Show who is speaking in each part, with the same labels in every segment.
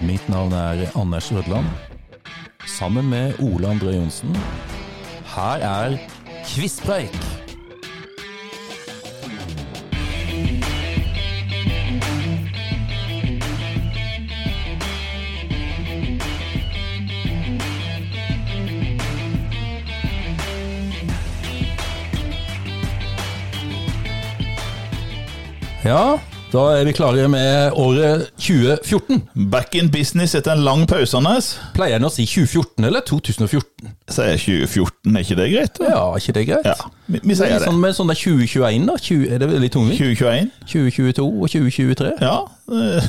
Speaker 1: Mitt navn er Anders Rødland. Sammen med Ole André Johnsen. Her er Kvisspreik! Ja, da er vi klare med året 2014.
Speaker 2: Back in business etter en lang pause, Anders.
Speaker 1: Pleier en å si 2014 eller 2014?
Speaker 2: Sier 2014, er ikke det greit? da?
Speaker 1: Ja, er ikke det greit?
Speaker 2: Ja, vi, vi
Speaker 1: Det
Speaker 2: sier
Speaker 1: er
Speaker 2: det.
Speaker 1: sånn med sånne 2021, da. 20, er det veldig tungvint?
Speaker 2: 2021.
Speaker 1: 2022 og 2023?
Speaker 2: Ja.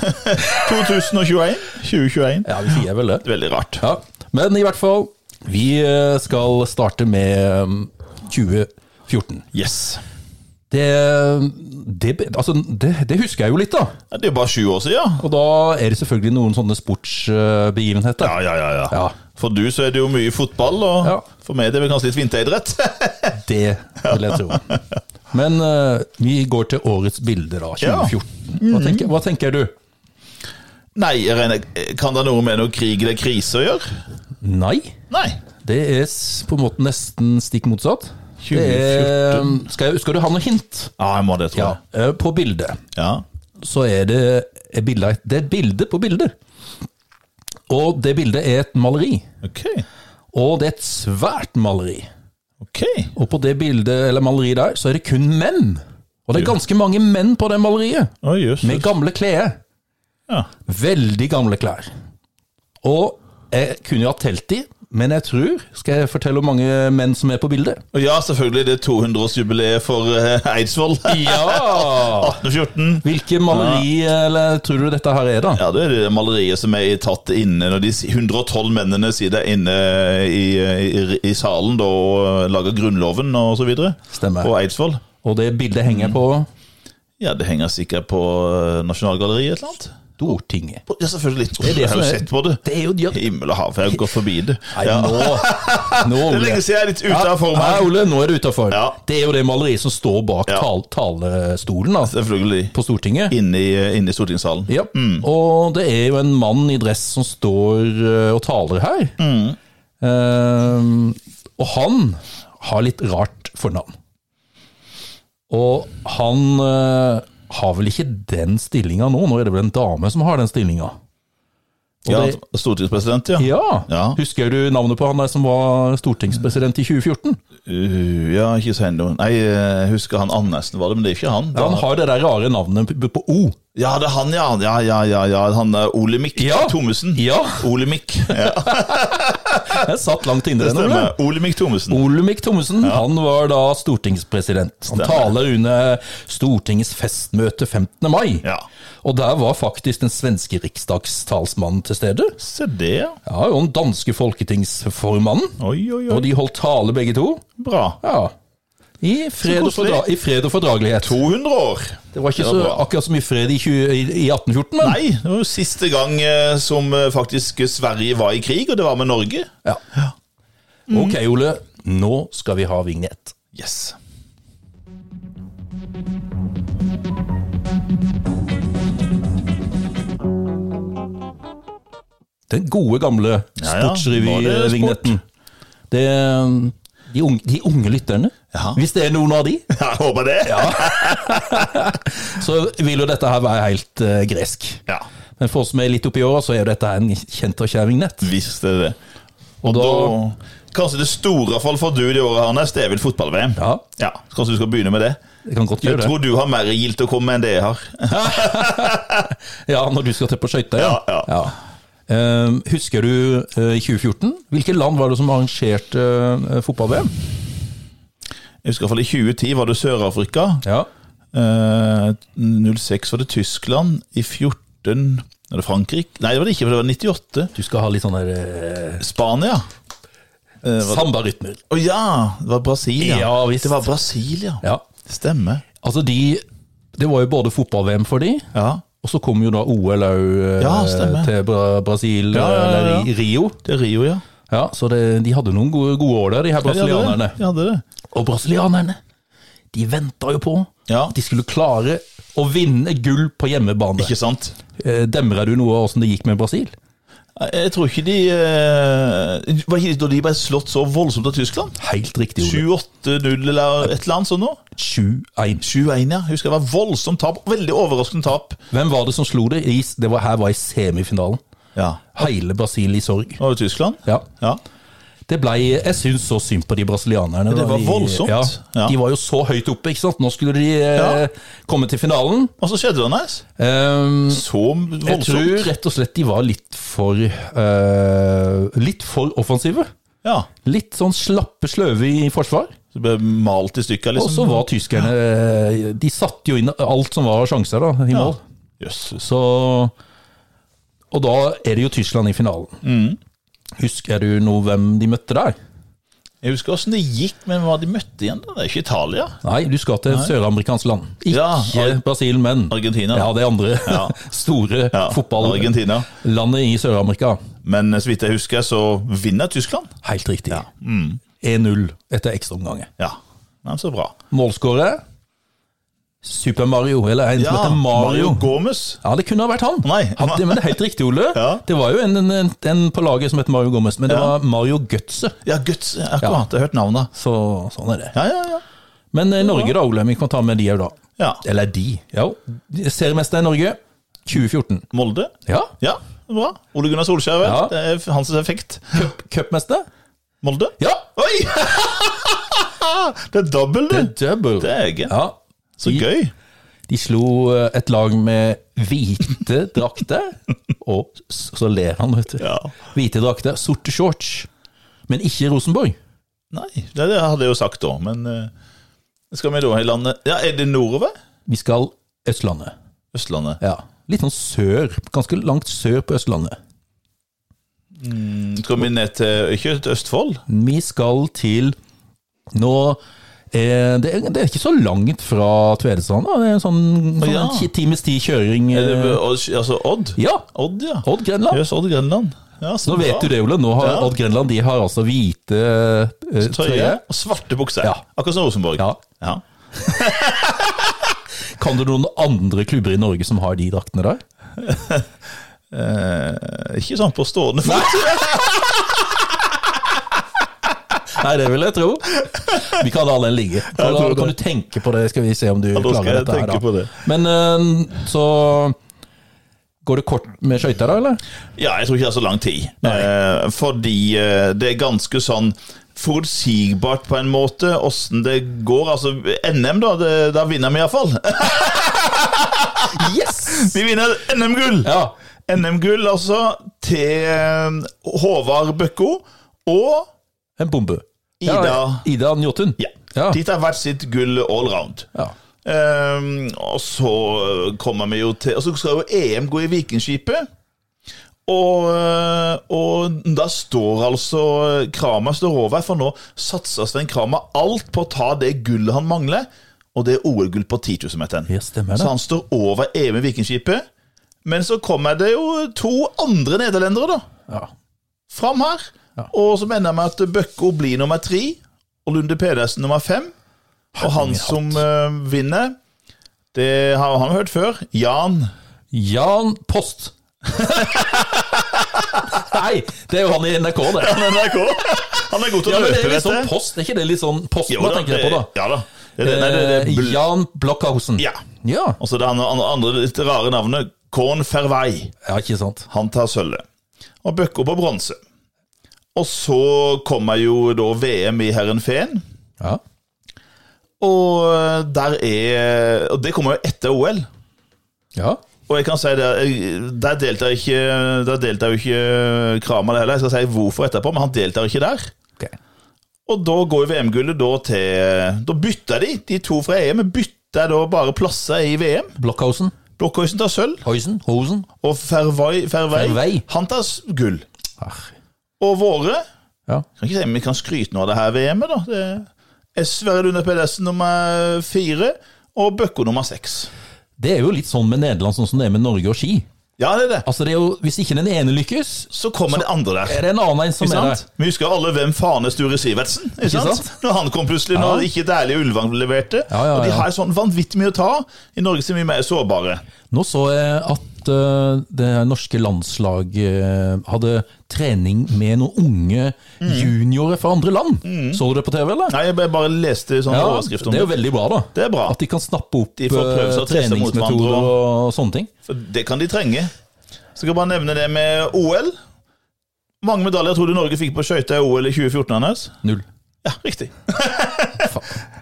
Speaker 2: 2021. 2021.
Speaker 1: Ja, vi sier vel det.
Speaker 2: Veldig rart.
Speaker 1: Ja, Men i hvert fall, vi eh, skal starte med um, 2014.
Speaker 2: Yes.
Speaker 1: Det, det, altså, det, det husker jeg jo litt, da.
Speaker 2: Ja, Det er bare sju år siden.
Speaker 1: Og da er det selvfølgelig noen sånne sportsbegivenheter.
Speaker 2: Ja, ja, ja. ja.
Speaker 1: Ja.
Speaker 2: For du så er det jo mye fotball, og
Speaker 1: Ja.
Speaker 2: for meg er det vel kanskje litt vinteridrett.
Speaker 1: Det vil jeg tro. Men eh, vi går til årets bilde, da. 2014. Hva tenker, hva tenker du?
Speaker 2: Nei, jeg regner- kan det ha noe med noe krig eller krise å gjøre?
Speaker 1: Nei.
Speaker 2: Nei.
Speaker 1: Det er s- på en måte nesten stikk motsatt. Det er, skal, jeg, skal du ha noe hint?
Speaker 2: Ja, jeg må det, tror
Speaker 1: Ja.
Speaker 2: jeg.
Speaker 1: eh, På bildet
Speaker 2: Ja.
Speaker 1: så er det et bilde, det er et bilde på bildet. Og det bildet er et maleri.
Speaker 2: Ok.
Speaker 1: Og det er et svært maleri.
Speaker 2: Ok.
Speaker 1: Og på det bildet, eller maleriet der, så er det kun menn. Og det er ganske mange menn på det maleriet.
Speaker 2: Å, jøss.
Speaker 1: Med gamle klær.
Speaker 2: Ja.
Speaker 1: Veldig gamle klær. Og jeg kunne jo hatt telt i, men jeg tror Skal jeg fortelle hvor mange menn som er på bildet?
Speaker 2: Og ja, selvfølgelig, det er 200-årsjubileet for eh, Eidsvoll.
Speaker 1: Ja!
Speaker 2: 1814.
Speaker 1: Hvilke maleri eller tror du dette her er, da?
Speaker 2: Ja, det er det maleriet som er tatt inne når de 112 mennene sitter inne i, i, i salen da, og lager Grunnloven og så videre.
Speaker 1: Stemmer.
Speaker 2: På Eidsvoll.
Speaker 1: Og det bildet henger på
Speaker 2: Ja, det henger sikkert på eh, Nasjonalgalleriet et eller annet.
Speaker 1: Stortinget.
Speaker 2: På- Ja, selvfølgelig.
Speaker 1: er det
Speaker 2: jeg har
Speaker 1: som
Speaker 2: jo
Speaker 1: er-
Speaker 2: sett på det.
Speaker 1: Det er jo ja,
Speaker 2: Himmel og hav, jeg har gått forbi det.
Speaker 1: Nei,
Speaker 2: Ja.
Speaker 1: nå, nå
Speaker 2: Det er
Speaker 1: Ole.
Speaker 2: lenge siden jeg er litt ute av formen.
Speaker 1: Nei, Ole, nå er du utafor.
Speaker 2: Ja.
Speaker 1: Det er jo det maleriet som står bak
Speaker 2: Ja.
Speaker 1: tal talestolen da,
Speaker 2: Selvfølgelig.
Speaker 1: på Stortinget.
Speaker 2: Inne i, eh, inne i stortingssalen.
Speaker 1: Ja. Og det er jo en mann i dress som står eh, og taler her. Eh, og han har litt rart fornavn. Og han eh, har vel ikke den stillinga nå, nå er det vel en dame som har den stillinga. Og
Speaker 2: Ja,
Speaker 1: det-
Speaker 2: stortingspresident, ja.
Speaker 1: Ja.
Speaker 2: Ja.
Speaker 1: Husker du navnet på han der som var stortingspresident i 2014?
Speaker 2: Uh, ja, ikke si noe. Nei, jeg husker han Andersen var det, men det er ikke han. Det er
Speaker 1: Han har det der rare navnet på- på O.
Speaker 2: Ja, det er han, ja. Ja, ja, ja, ja. Han er Ole Mikk
Speaker 1: Ja.
Speaker 2: Thommessen.
Speaker 1: Ja,
Speaker 2: Ole Mikk. Ja,
Speaker 1: jeg satt langt inne i
Speaker 2: det
Speaker 1: den. Ole.
Speaker 2: stemmer. Ole Mikk Thommessen.
Speaker 1: Olemic Thommessen han var da stortingspresident. Han taler under Stortingets festmøte 15. mai.
Speaker 2: Ja.
Speaker 1: Og der var faktisk den svenske riksdagstalsmannen til stede.
Speaker 2: Se det, ja.
Speaker 1: Ja, Og den danske folketingsformannen.
Speaker 2: Oi, oi,
Speaker 1: Og
Speaker 2: oi.
Speaker 1: de holdt tale, begge to.
Speaker 2: Bra.
Speaker 1: Ja. I fred, og,
Speaker 2: koselig.
Speaker 1: fordra I fred og fordragelighet.
Speaker 2: 200 år.
Speaker 1: Det var ikke
Speaker 2: Det var
Speaker 1: så,
Speaker 2: bra.
Speaker 1: akkurat så mye fred i, 20, i, i 1814, men
Speaker 2: Nei, det var jo siste gang eh, som eh, faktisk Sverige var i krig, og det var med Norge.
Speaker 1: Ja. Ok, Ole. Nå skal vi ha vignett.
Speaker 2: Yes.
Speaker 1: Den gode, gamle
Speaker 2: Ja, ja. Nå er det
Speaker 1: sportsrevy-vignetten. Det um, de, unge, de unge lytterne,
Speaker 2: Ja.
Speaker 1: hvis det er noen av de,
Speaker 2: Jeg håper det. Ja.
Speaker 1: så vil jo dette her være helt eh, gresk.
Speaker 2: ja.
Speaker 1: Men for oss som er litt oppi åra, så er jo dette her en kjent og kjær vignett.
Speaker 2: Visst er det det.
Speaker 1: Og da,
Speaker 2: Da, kanskje det store fall for du det året, Arnes, det er vel fotball-VM.
Speaker 1: Ja,
Speaker 2: ja. Kanskje du skal begynne med det?
Speaker 1: det kan godt
Speaker 2: Jeg
Speaker 1: gjøre det.
Speaker 2: tror du har mer gilt å komme med enn det jeg har.
Speaker 1: Ja, Når du skal til på skøyter, ja.
Speaker 2: Ja,
Speaker 1: Eh, husker du eh, i 2014? Hvilke land var det som arrangerte eh, fotball-VM?
Speaker 2: Jeg husker i hvert fall i 2010 var det Sør-Afrika.
Speaker 1: Ja.
Speaker 2: Eh, 06 var det Tyskland. I 14 var det Frankrike. Nei, det var det ikke, for det var 98.
Speaker 1: Du skal ha litt sånn der
Speaker 2: Spania.
Speaker 1: uh, sambarytmer.
Speaker 2: Å ja! Det var Brasilia.
Speaker 1: Ja, visst.
Speaker 2: Det var Brasilia.
Speaker 1: Ja.
Speaker 2: Stemmer.
Speaker 1: Altså, de Det var jo både fotball-VM for de,
Speaker 2: Ja.
Speaker 1: og så kom jo da OL òg
Speaker 2: Ja, stemmer.
Speaker 1: eh, til Bra Brasil,
Speaker 2: Ja, ja, ja, ja.
Speaker 1: eller i Rio.
Speaker 2: Det er Rio, ja.
Speaker 1: Ja, Så det, de hadde noen gode, gode år der, de her
Speaker 2: Ja, de hadde det.
Speaker 1: brasilianerne.
Speaker 2: De hadde det.
Speaker 1: Og brasilianerne, de venta jo på
Speaker 2: Ja.
Speaker 1: at de skulle klare Å vinne gull på hjemmebane.
Speaker 2: Ikke sant?
Speaker 1: Eh, Demra du noe av åssen det gikk med Brasil?
Speaker 2: Jeg tror ikke de eh, Var ikke da de ble slått så voldsomt av Tyskland?
Speaker 1: Helt riktig. Ole.
Speaker 2: 7-8-0 eller et eller annet sånt nå?
Speaker 1: 7-1.
Speaker 2: 7-1, ja. Husker det var voldsomt tap. Veldig overraskende tap.
Speaker 1: Hvem var det som slo det? I, det var, her var i semifinalen.
Speaker 2: Ja.
Speaker 1: Hele Brasil i sorg.
Speaker 2: Var det Tyskland?
Speaker 1: Ja.
Speaker 2: Ja.
Speaker 1: Det ble, jeg syns så synd på de brasilianerne.
Speaker 2: det
Speaker 1: da
Speaker 2: var
Speaker 1: de-
Speaker 2: voldsomt.
Speaker 1: Ja,
Speaker 2: Ja.
Speaker 1: De var jo så høyt oppe, ikke sant. Nå skulle de
Speaker 2: Ja.
Speaker 1: eh, komme til finalen.
Speaker 2: Og så skjedde det nice.
Speaker 1: Ehm,
Speaker 2: Så voldsomt.
Speaker 1: jeg tror rett og slett de var litt for eh, Litt for offensive.
Speaker 2: Ja.
Speaker 1: Litt sånn slappe, sløve i forsvar.
Speaker 2: Så ble malt i stykker,
Speaker 1: Og så
Speaker 2: liksom.
Speaker 1: var tyskerne eh, De satte jo inn alt som var av sjanser da, i mål.
Speaker 2: Jøsses.
Speaker 1: Så Og da er det jo Tyskland i finalen.
Speaker 2: Mm.
Speaker 1: Husker du noe hvem de møtte der?
Speaker 2: Jeg husker åssen det gikk, men hva de møtte igjen? da? Det er ikke Italia.
Speaker 1: Nei, du skal til et søramerikansk land. Ikke
Speaker 2: Ja, Ar-
Speaker 1: Brasil, men
Speaker 2: Argentina.
Speaker 1: Ja, det andre store
Speaker 2: Ja,
Speaker 1: fotballlandet
Speaker 2: Argentina.
Speaker 1: i Sør-Amerika.
Speaker 2: Men eh, så vidt jeg husker, så vinner Tyskland.
Speaker 1: Helt riktig.
Speaker 2: Mm.
Speaker 1: 1-0 etter ekstraomganger.
Speaker 2: Ja. Nei, så bra.
Speaker 1: Målskårer Super Mario, eller en som
Speaker 2: Ja,
Speaker 1: heter Mario.
Speaker 2: Gomez.
Speaker 1: Ja, det kunne ha vært han.
Speaker 2: Nei.
Speaker 1: Ja, det, men det er helt riktig, Ole.
Speaker 2: Ja.
Speaker 1: Det var jo en, en, en, en på laget som het Mario Gomez, men det var Mario Gutse.
Speaker 2: Ja, Guts. Akkurat. Jeg har hørt navnet.
Speaker 1: Så sånn er det.
Speaker 2: Ja, ja, ja.
Speaker 1: Men eh, Norge, da, Ole. Vi kan ta med de òg, da.
Speaker 2: ja.
Speaker 1: Eller de. Ja, seriemester i Norge 2014.
Speaker 2: Molde.
Speaker 1: Ja.
Speaker 2: Ja, bra. Ole Gunnar Solskjær, vel.
Speaker 1: Ja.
Speaker 2: Det er hans effekt.
Speaker 1: Cup- Cupmester?
Speaker 2: Molde.
Speaker 1: Ja!
Speaker 2: Oi! det er dobbel, du.
Speaker 1: Double.
Speaker 2: Dægen.
Speaker 1: Ja.
Speaker 2: Så
Speaker 1: de-
Speaker 2: gøy.
Speaker 1: De slo eh, et lag med hvite drakter, og s- så ler han, vet du.
Speaker 2: Ja.
Speaker 1: Hvite drakter, sorte shorts. Men ikke Rosenborg.
Speaker 2: Nei, det, det hadde jeg jo sagt da, men eh, skal vi da i landet Ja, er det nordover?
Speaker 1: Vi skal Østlandet.
Speaker 2: Østlandet.
Speaker 1: Ja. Litt sånn sør, ganske langt sør på Østlandet.
Speaker 2: Skal vi ned til Ikke til Østfold?
Speaker 1: Vi skal til Nå eh, det, er, det er ikke så langt fra Tvedestrand. da. Det er en sånn, sånn
Speaker 2: ja.
Speaker 1: en ti- times tid kjøring.
Speaker 2: Er det,
Speaker 1: eh,
Speaker 2: altså Odd?
Speaker 1: Ja!
Speaker 2: Odd, ja.
Speaker 1: Odd Grenland.
Speaker 2: Jøss, Odd Grenland. Ja, så
Speaker 1: Nå vet
Speaker 2: bra.
Speaker 1: du det, Ole. Nå har
Speaker 2: Ja.
Speaker 1: Odd Grenland de har altså hvite eh,
Speaker 2: Trøye
Speaker 1: trøyer.
Speaker 2: og svarte bukser.
Speaker 1: Ja.
Speaker 2: Akkurat som Rosenborg.
Speaker 1: Ja.
Speaker 2: Ja.
Speaker 1: Kan du noen andre klubber i Norge som har de draktene der?
Speaker 2: Eh, ikke sånn på stående fot.
Speaker 1: Nei, det vil jeg tro. Vi kan la den ligge. Kan,
Speaker 2: tror
Speaker 1: du-
Speaker 2: det.
Speaker 1: kan du tenke på det, skal vi se om du
Speaker 2: da skal
Speaker 1: klarer
Speaker 2: jeg
Speaker 1: dette her,
Speaker 2: tenke på
Speaker 1: da.
Speaker 2: det.
Speaker 1: Men eh, så Går det kort med skøyter, da, eller?
Speaker 2: Ja, jeg tror ikke det er så lang tid. Eh, fordi eh, det er ganske sånn forutsigbart på en måte åssen det går. Altså, NM, da. Det, da vinner vi iallfall.
Speaker 1: Yes!
Speaker 2: Vi vinner NM-gull!
Speaker 1: Ja.
Speaker 2: NM-gull, altså, til eh, Håvard Bøkko og
Speaker 1: En bombe.
Speaker 2: Ida.
Speaker 1: Ja, Ida Njåtun.
Speaker 2: Ja.
Speaker 1: Ja.
Speaker 2: De tar hvert sitt gull all round.
Speaker 1: Ja.
Speaker 2: Ehm, og så kommer vi jo til Og så skal jo EM gå i Vikingskipet. Og, eh, og da står altså Krama står over, for nå satser Svein Krama alt på å ta det gullet han mangler, og det er OL-gull på 10 000-meteren.
Speaker 1: Ja, stemmer det.
Speaker 2: Så han står over EM i Vikingskipet. Men så kommer det jo to andre nederlendere, da
Speaker 1: Ja.
Speaker 2: fram her. Og så mener jeg med at Bøkko blir nummer tre, og Lunde Pedersen nummer fem. Og han som eh, vinner, det har han hørt før, Jan
Speaker 1: Jan Post. Nei, det er jo han i NRK, det.
Speaker 2: NRK. Han er god til
Speaker 1: Ja,
Speaker 2: å
Speaker 1: men det er
Speaker 2: løpe,
Speaker 1: litt
Speaker 2: vet
Speaker 1: sånn
Speaker 2: du.
Speaker 1: post, er ikke det litt sånn post?
Speaker 2: Jo
Speaker 1: Hva
Speaker 2: da,
Speaker 1: tenker jeg på da?
Speaker 2: det- Ja da. Det, er det, nei, det, det,
Speaker 1: Eh,
Speaker 2: er bl-
Speaker 1: Jan Blokkhausen.
Speaker 2: ja.
Speaker 1: Ja.
Speaker 2: Og så det andre, andre litt rare navnet, Korn Fervei.
Speaker 1: Ja, ikke sant.
Speaker 2: Han tar sølvet. Og Bøkko på bronse. Og så kommer jo da VM i Herrenfeen.
Speaker 1: Ja.
Speaker 2: Og eh, der er Og det kommer jo etter OL.
Speaker 1: ja.
Speaker 2: Og jeg kan si det, jeg- der deltar ikke, der deltar jo ikke Kramer det heller. Jeg skal si hvorfor etterpå, men han deltar ikke der.
Speaker 1: Ok.
Speaker 2: Og da går jo VM-gullet da til Da bytter de, de to fra EM, bytter da bare plasser i VM.
Speaker 1: Blokkhausen.
Speaker 2: Blokkhøysen tar sølv,
Speaker 1: Høysen. Hosen.
Speaker 2: og Fervei, Fervei,
Speaker 1: Fervei.
Speaker 2: han tar s- gull.
Speaker 1: Arr.
Speaker 2: Og våre
Speaker 1: Ah, Ja.
Speaker 2: Kan ikke si vi kan skryte nå av det her VM-et, da. Det er Sverre Lunde Pedersen nummer fire, og Bøkko nummer seks.
Speaker 1: Det er jo litt sånn med Nederland, sånn som det er med Norge og ski.
Speaker 2: Ja, det er det.
Speaker 1: Altså det er jo, Hvis ikke den ene lykkes,
Speaker 2: Så kommer det andre der.
Speaker 1: er det en annen en som
Speaker 2: Ikke
Speaker 1: er
Speaker 2: sant?
Speaker 1: der.
Speaker 2: Vi husker alle hvem faen er Sture Sivertsen? Ikke sant?
Speaker 1: sant?
Speaker 2: Når han kom plutselig, når
Speaker 1: Ja.
Speaker 2: ikke Dæhlie Ulvang leverte.
Speaker 1: Ja, ja,
Speaker 2: Og de
Speaker 1: ja.
Speaker 2: har sånn vanvittig mye å ta. I Norge så er vi mer sårbare.
Speaker 1: Nå så jeg at eh, det norske landslaget eh, hadde trening med noen unge
Speaker 2: Mm.
Speaker 1: juniorer fra andre land. Så du det på TV, eller?
Speaker 2: Nei, jeg bare leste sånn
Speaker 1: Ja,
Speaker 2: overskrift om
Speaker 1: det er jo veldig bra, da.
Speaker 2: Det er bra.
Speaker 1: At de kan snappe opp
Speaker 2: De får prøve
Speaker 1: eh,
Speaker 2: seg å teste mot hverandre
Speaker 1: treningsmetoder og sånne ting.
Speaker 2: For det kan de trenge. Så skal jeg bare nevne det med OL. Mange medaljer tror du Norge fikk på skøyter i OL i 2014, Anders?
Speaker 1: Null.
Speaker 2: Ja, riktig.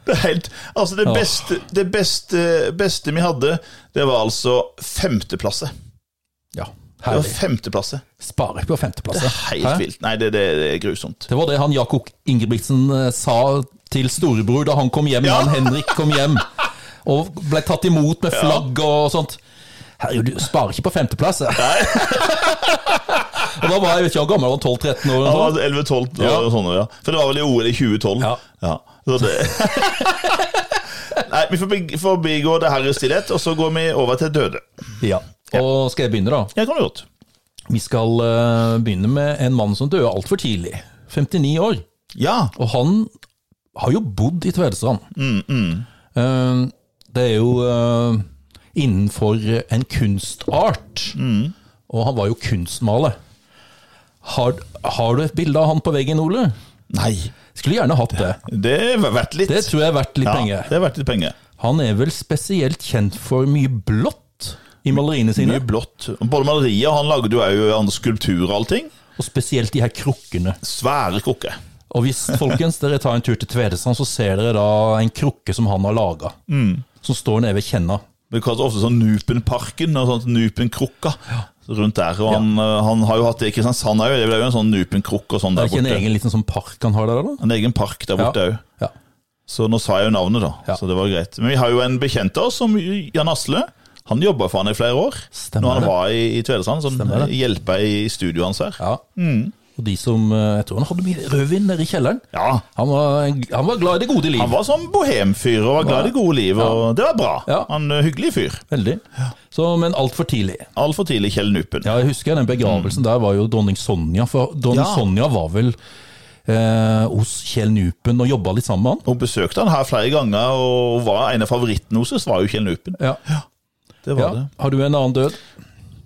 Speaker 2: det er helt Altså, det, beste, det beste, beste vi hadde, det var altså femteplasse.
Speaker 1: Ja,
Speaker 2: Det var
Speaker 1: herlig.
Speaker 2: femteplasse.
Speaker 1: Sparer på femteplass.
Speaker 2: Det er helt
Speaker 1: Hæ?
Speaker 2: vilt. Nei, det, det, det er grusomt.
Speaker 1: Det var det han Jakob Ingebrigtsen eh, sa til storebror da han kom hjem, da han Henrik kom hjem. Og ble tatt imot med flagg og sånt. Herregud, du sparer ikke på femteplass. jeg. og da var jeg vet ikke hvor gammel, han var 12-13 år?
Speaker 2: Ja,
Speaker 1: Eller sånt.
Speaker 2: 11-12
Speaker 1: Ja.
Speaker 2: og sånne, ja. For det var vel i OL i 2012.
Speaker 1: Ja.
Speaker 2: Så det... Nei, vi forbi- forbigår det her i stillhet, og så går vi over til døde.
Speaker 1: Ja. Og skal jeg begynne, da?
Speaker 2: Jeg kan jo godt.
Speaker 1: Vi skal eh, begynne med en mann som døde altfor tidlig. 59 år.
Speaker 2: Ja.
Speaker 1: Og han har jo bodd i Tvedestrand.
Speaker 2: Mm,
Speaker 1: Eh, Det er jo eh, innenfor en kunstart.
Speaker 2: Mm.
Speaker 1: Og han var jo kunstmaler. Har, har du et bilde av han på veggen, Ole?
Speaker 2: Nei.
Speaker 1: Skulle gjerne hatt det.
Speaker 2: Det er verdt litt.
Speaker 1: Det tror jeg er verdt litt
Speaker 2: ja,
Speaker 1: penger.
Speaker 2: Det er verdt litt penger.
Speaker 1: Han er vel spesielt kjent for mye blått i maleriene sine.
Speaker 2: Mye blått. Både malerier, og han lagde jo også andre skulpturer og allting.
Speaker 1: Og spesielt de her krukkene.
Speaker 2: Svære krukker.
Speaker 1: Og hvis folkens, dere tar en tur til Tvedestrand, så ser dere da en krukke som han har laga.
Speaker 2: Mm.
Speaker 1: Som står nede ved kjenna.
Speaker 2: Det kalles ofte sånn Nupenparken og sånt Nupenkrukka rundt der. Og han, eh, han har jo hatt det i Kristiansand òg. Det ble jo en sånn Nupenkrukke og sånn
Speaker 1: Er
Speaker 2: der
Speaker 1: det ikke en
Speaker 2: borte.
Speaker 1: egen liten sånn park han har der, da?
Speaker 2: En egen park der borte òg.
Speaker 1: Ja.
Speaker 2: Så nå sa jeg jo navnet, da.
Speaker 1: Ja.
Speaker 2: Så det var greit. Men vi har jo en bekjent av oss, som Jan Asle. Han jobba for han i flere år.
Speaker 1: Stemmer
Speaker 2: når han
Speaker 1: det.
Speaker 2: var i, i Tvedestrand.
Speaker 1: Stemmer
Speaker 2: Sånn,
Speaker 1: det.
Speaker 2: hjelpa i studioet hans her.
Speaker 1: ja. Og de som eh, Jeg tror han hadde mye rødvin nede i kjelleren.
Speaker 2: Mm. Ja.
Speaker 1: Han var, han var glad i det gode liv.
Speaker 2: Han var sånn bohemfyr og var glad i det gode liv, og det var bra.
Speaker 1: Ja.
Speaker 2: Han eh, Hyggelig fyr.
Speaker 1: Veldig. Så, men altfor tidlig.
Speaker 2: Altfor tidlig Kjell Nupen.
Speaker 1: Ja, jeg husker den begravelsen der var jo dronning Sonja. For dronning
Speaker 2: Mm. Ja.
Speaker 1: Sonja var vel eh, hos Kjell Nupen og jobba litt sammen med han.
Speaker 2: Hun besøkte han her flere ganger, og var en av favorittene hos oss var jo Kjell Nupen.
Speaker 1: Ja.
Speaker 2: Det var
Speaker 1: Ja.
Speaker 2: det.
Speaker 1: Har du en annen død?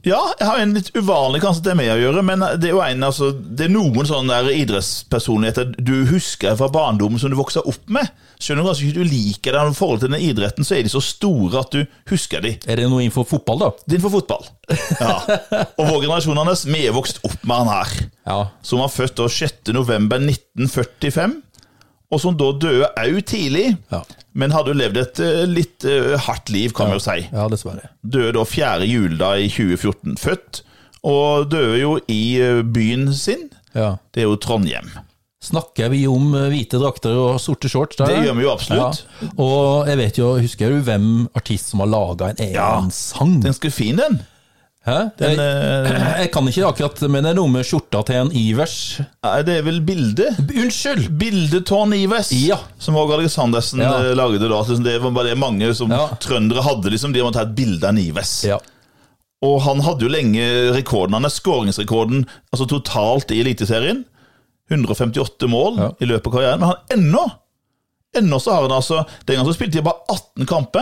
Speaker 2: Ja, jeg har en litt uvanlig kanskje til meg å gjøre, men det er jo en, altså, det er noen sånne der idrettspersonligheter du husker fra barndommen som du vokser opp med. Selv om kanskje ikke du liker det, men i forhold til den idretten så er de så store at du husker de.
Speaker 1: Er det noe innenfor fotball, da?
Speaker 2: Din for fotball. Ja. Og vår generasjon, Anders, vi er vokst opp med han her.
Speaker 1: Ja.
Speaker 2: Som var født da 6. november 1945, og som da døde au tidlig.
Speaker 1: Ja.
Speaker 2: Men hadde jo levd et eh, litt eh, hardt liv, kan vi jo si
Speaker 1: ja, dessverre.
Speaker 2: døde da 4. juledag i 2014. Født, og døde jo i eh, byen sin.
Speaker 1: Ja.
Speaker 2: Det er jo Trondheim.
Speaker 1: Snakker vi om eh, hvite drakter og sorte shorts? Der?
Speaker 2: Det gjør vi jo absolutt.
Speaker 1: Ja. Og jeg vet jo, husker du hvem artist som har laga en egen
Speaker 2: Ja.
Speaker 1: sang?
Speaker 2: Den skal fin, den.
Speaker 1: Hæ?
Speaker 2: den
Speaker 1: jeg,
Speaker 2: eh,
Speaker 1: jeg kan ikke akkurat, men det er noe med skjorta til en Ivers.
Speaker 2: nei, Eh, det er vel bildet?
Speaker 1: Unnskyld!
Speaker 2: Bildetårn Ives,
Speaker 1: Ja.
Speaker 2: som Åge Aleksandersen
Speaker 1: Ja.
Speaker 2: eh, lagde da. Så Det var bare det mange som
Speaker 1: Ja.
Speaker 2: trøndere hadde, liksom, de måtte ha et bilde av Nives.
Speaker 1: Ja.
Speaker 2: Og han hadde jo lenge rekorden. Han er skåringsrekorden altså totalt i Eliteserien. 158 mål
Speaker 1: Ja.
Speaker 2: i løpet av karrieren. Men han ennå Ennå så har han altså Den gangen så spilte de bare 18 kamper,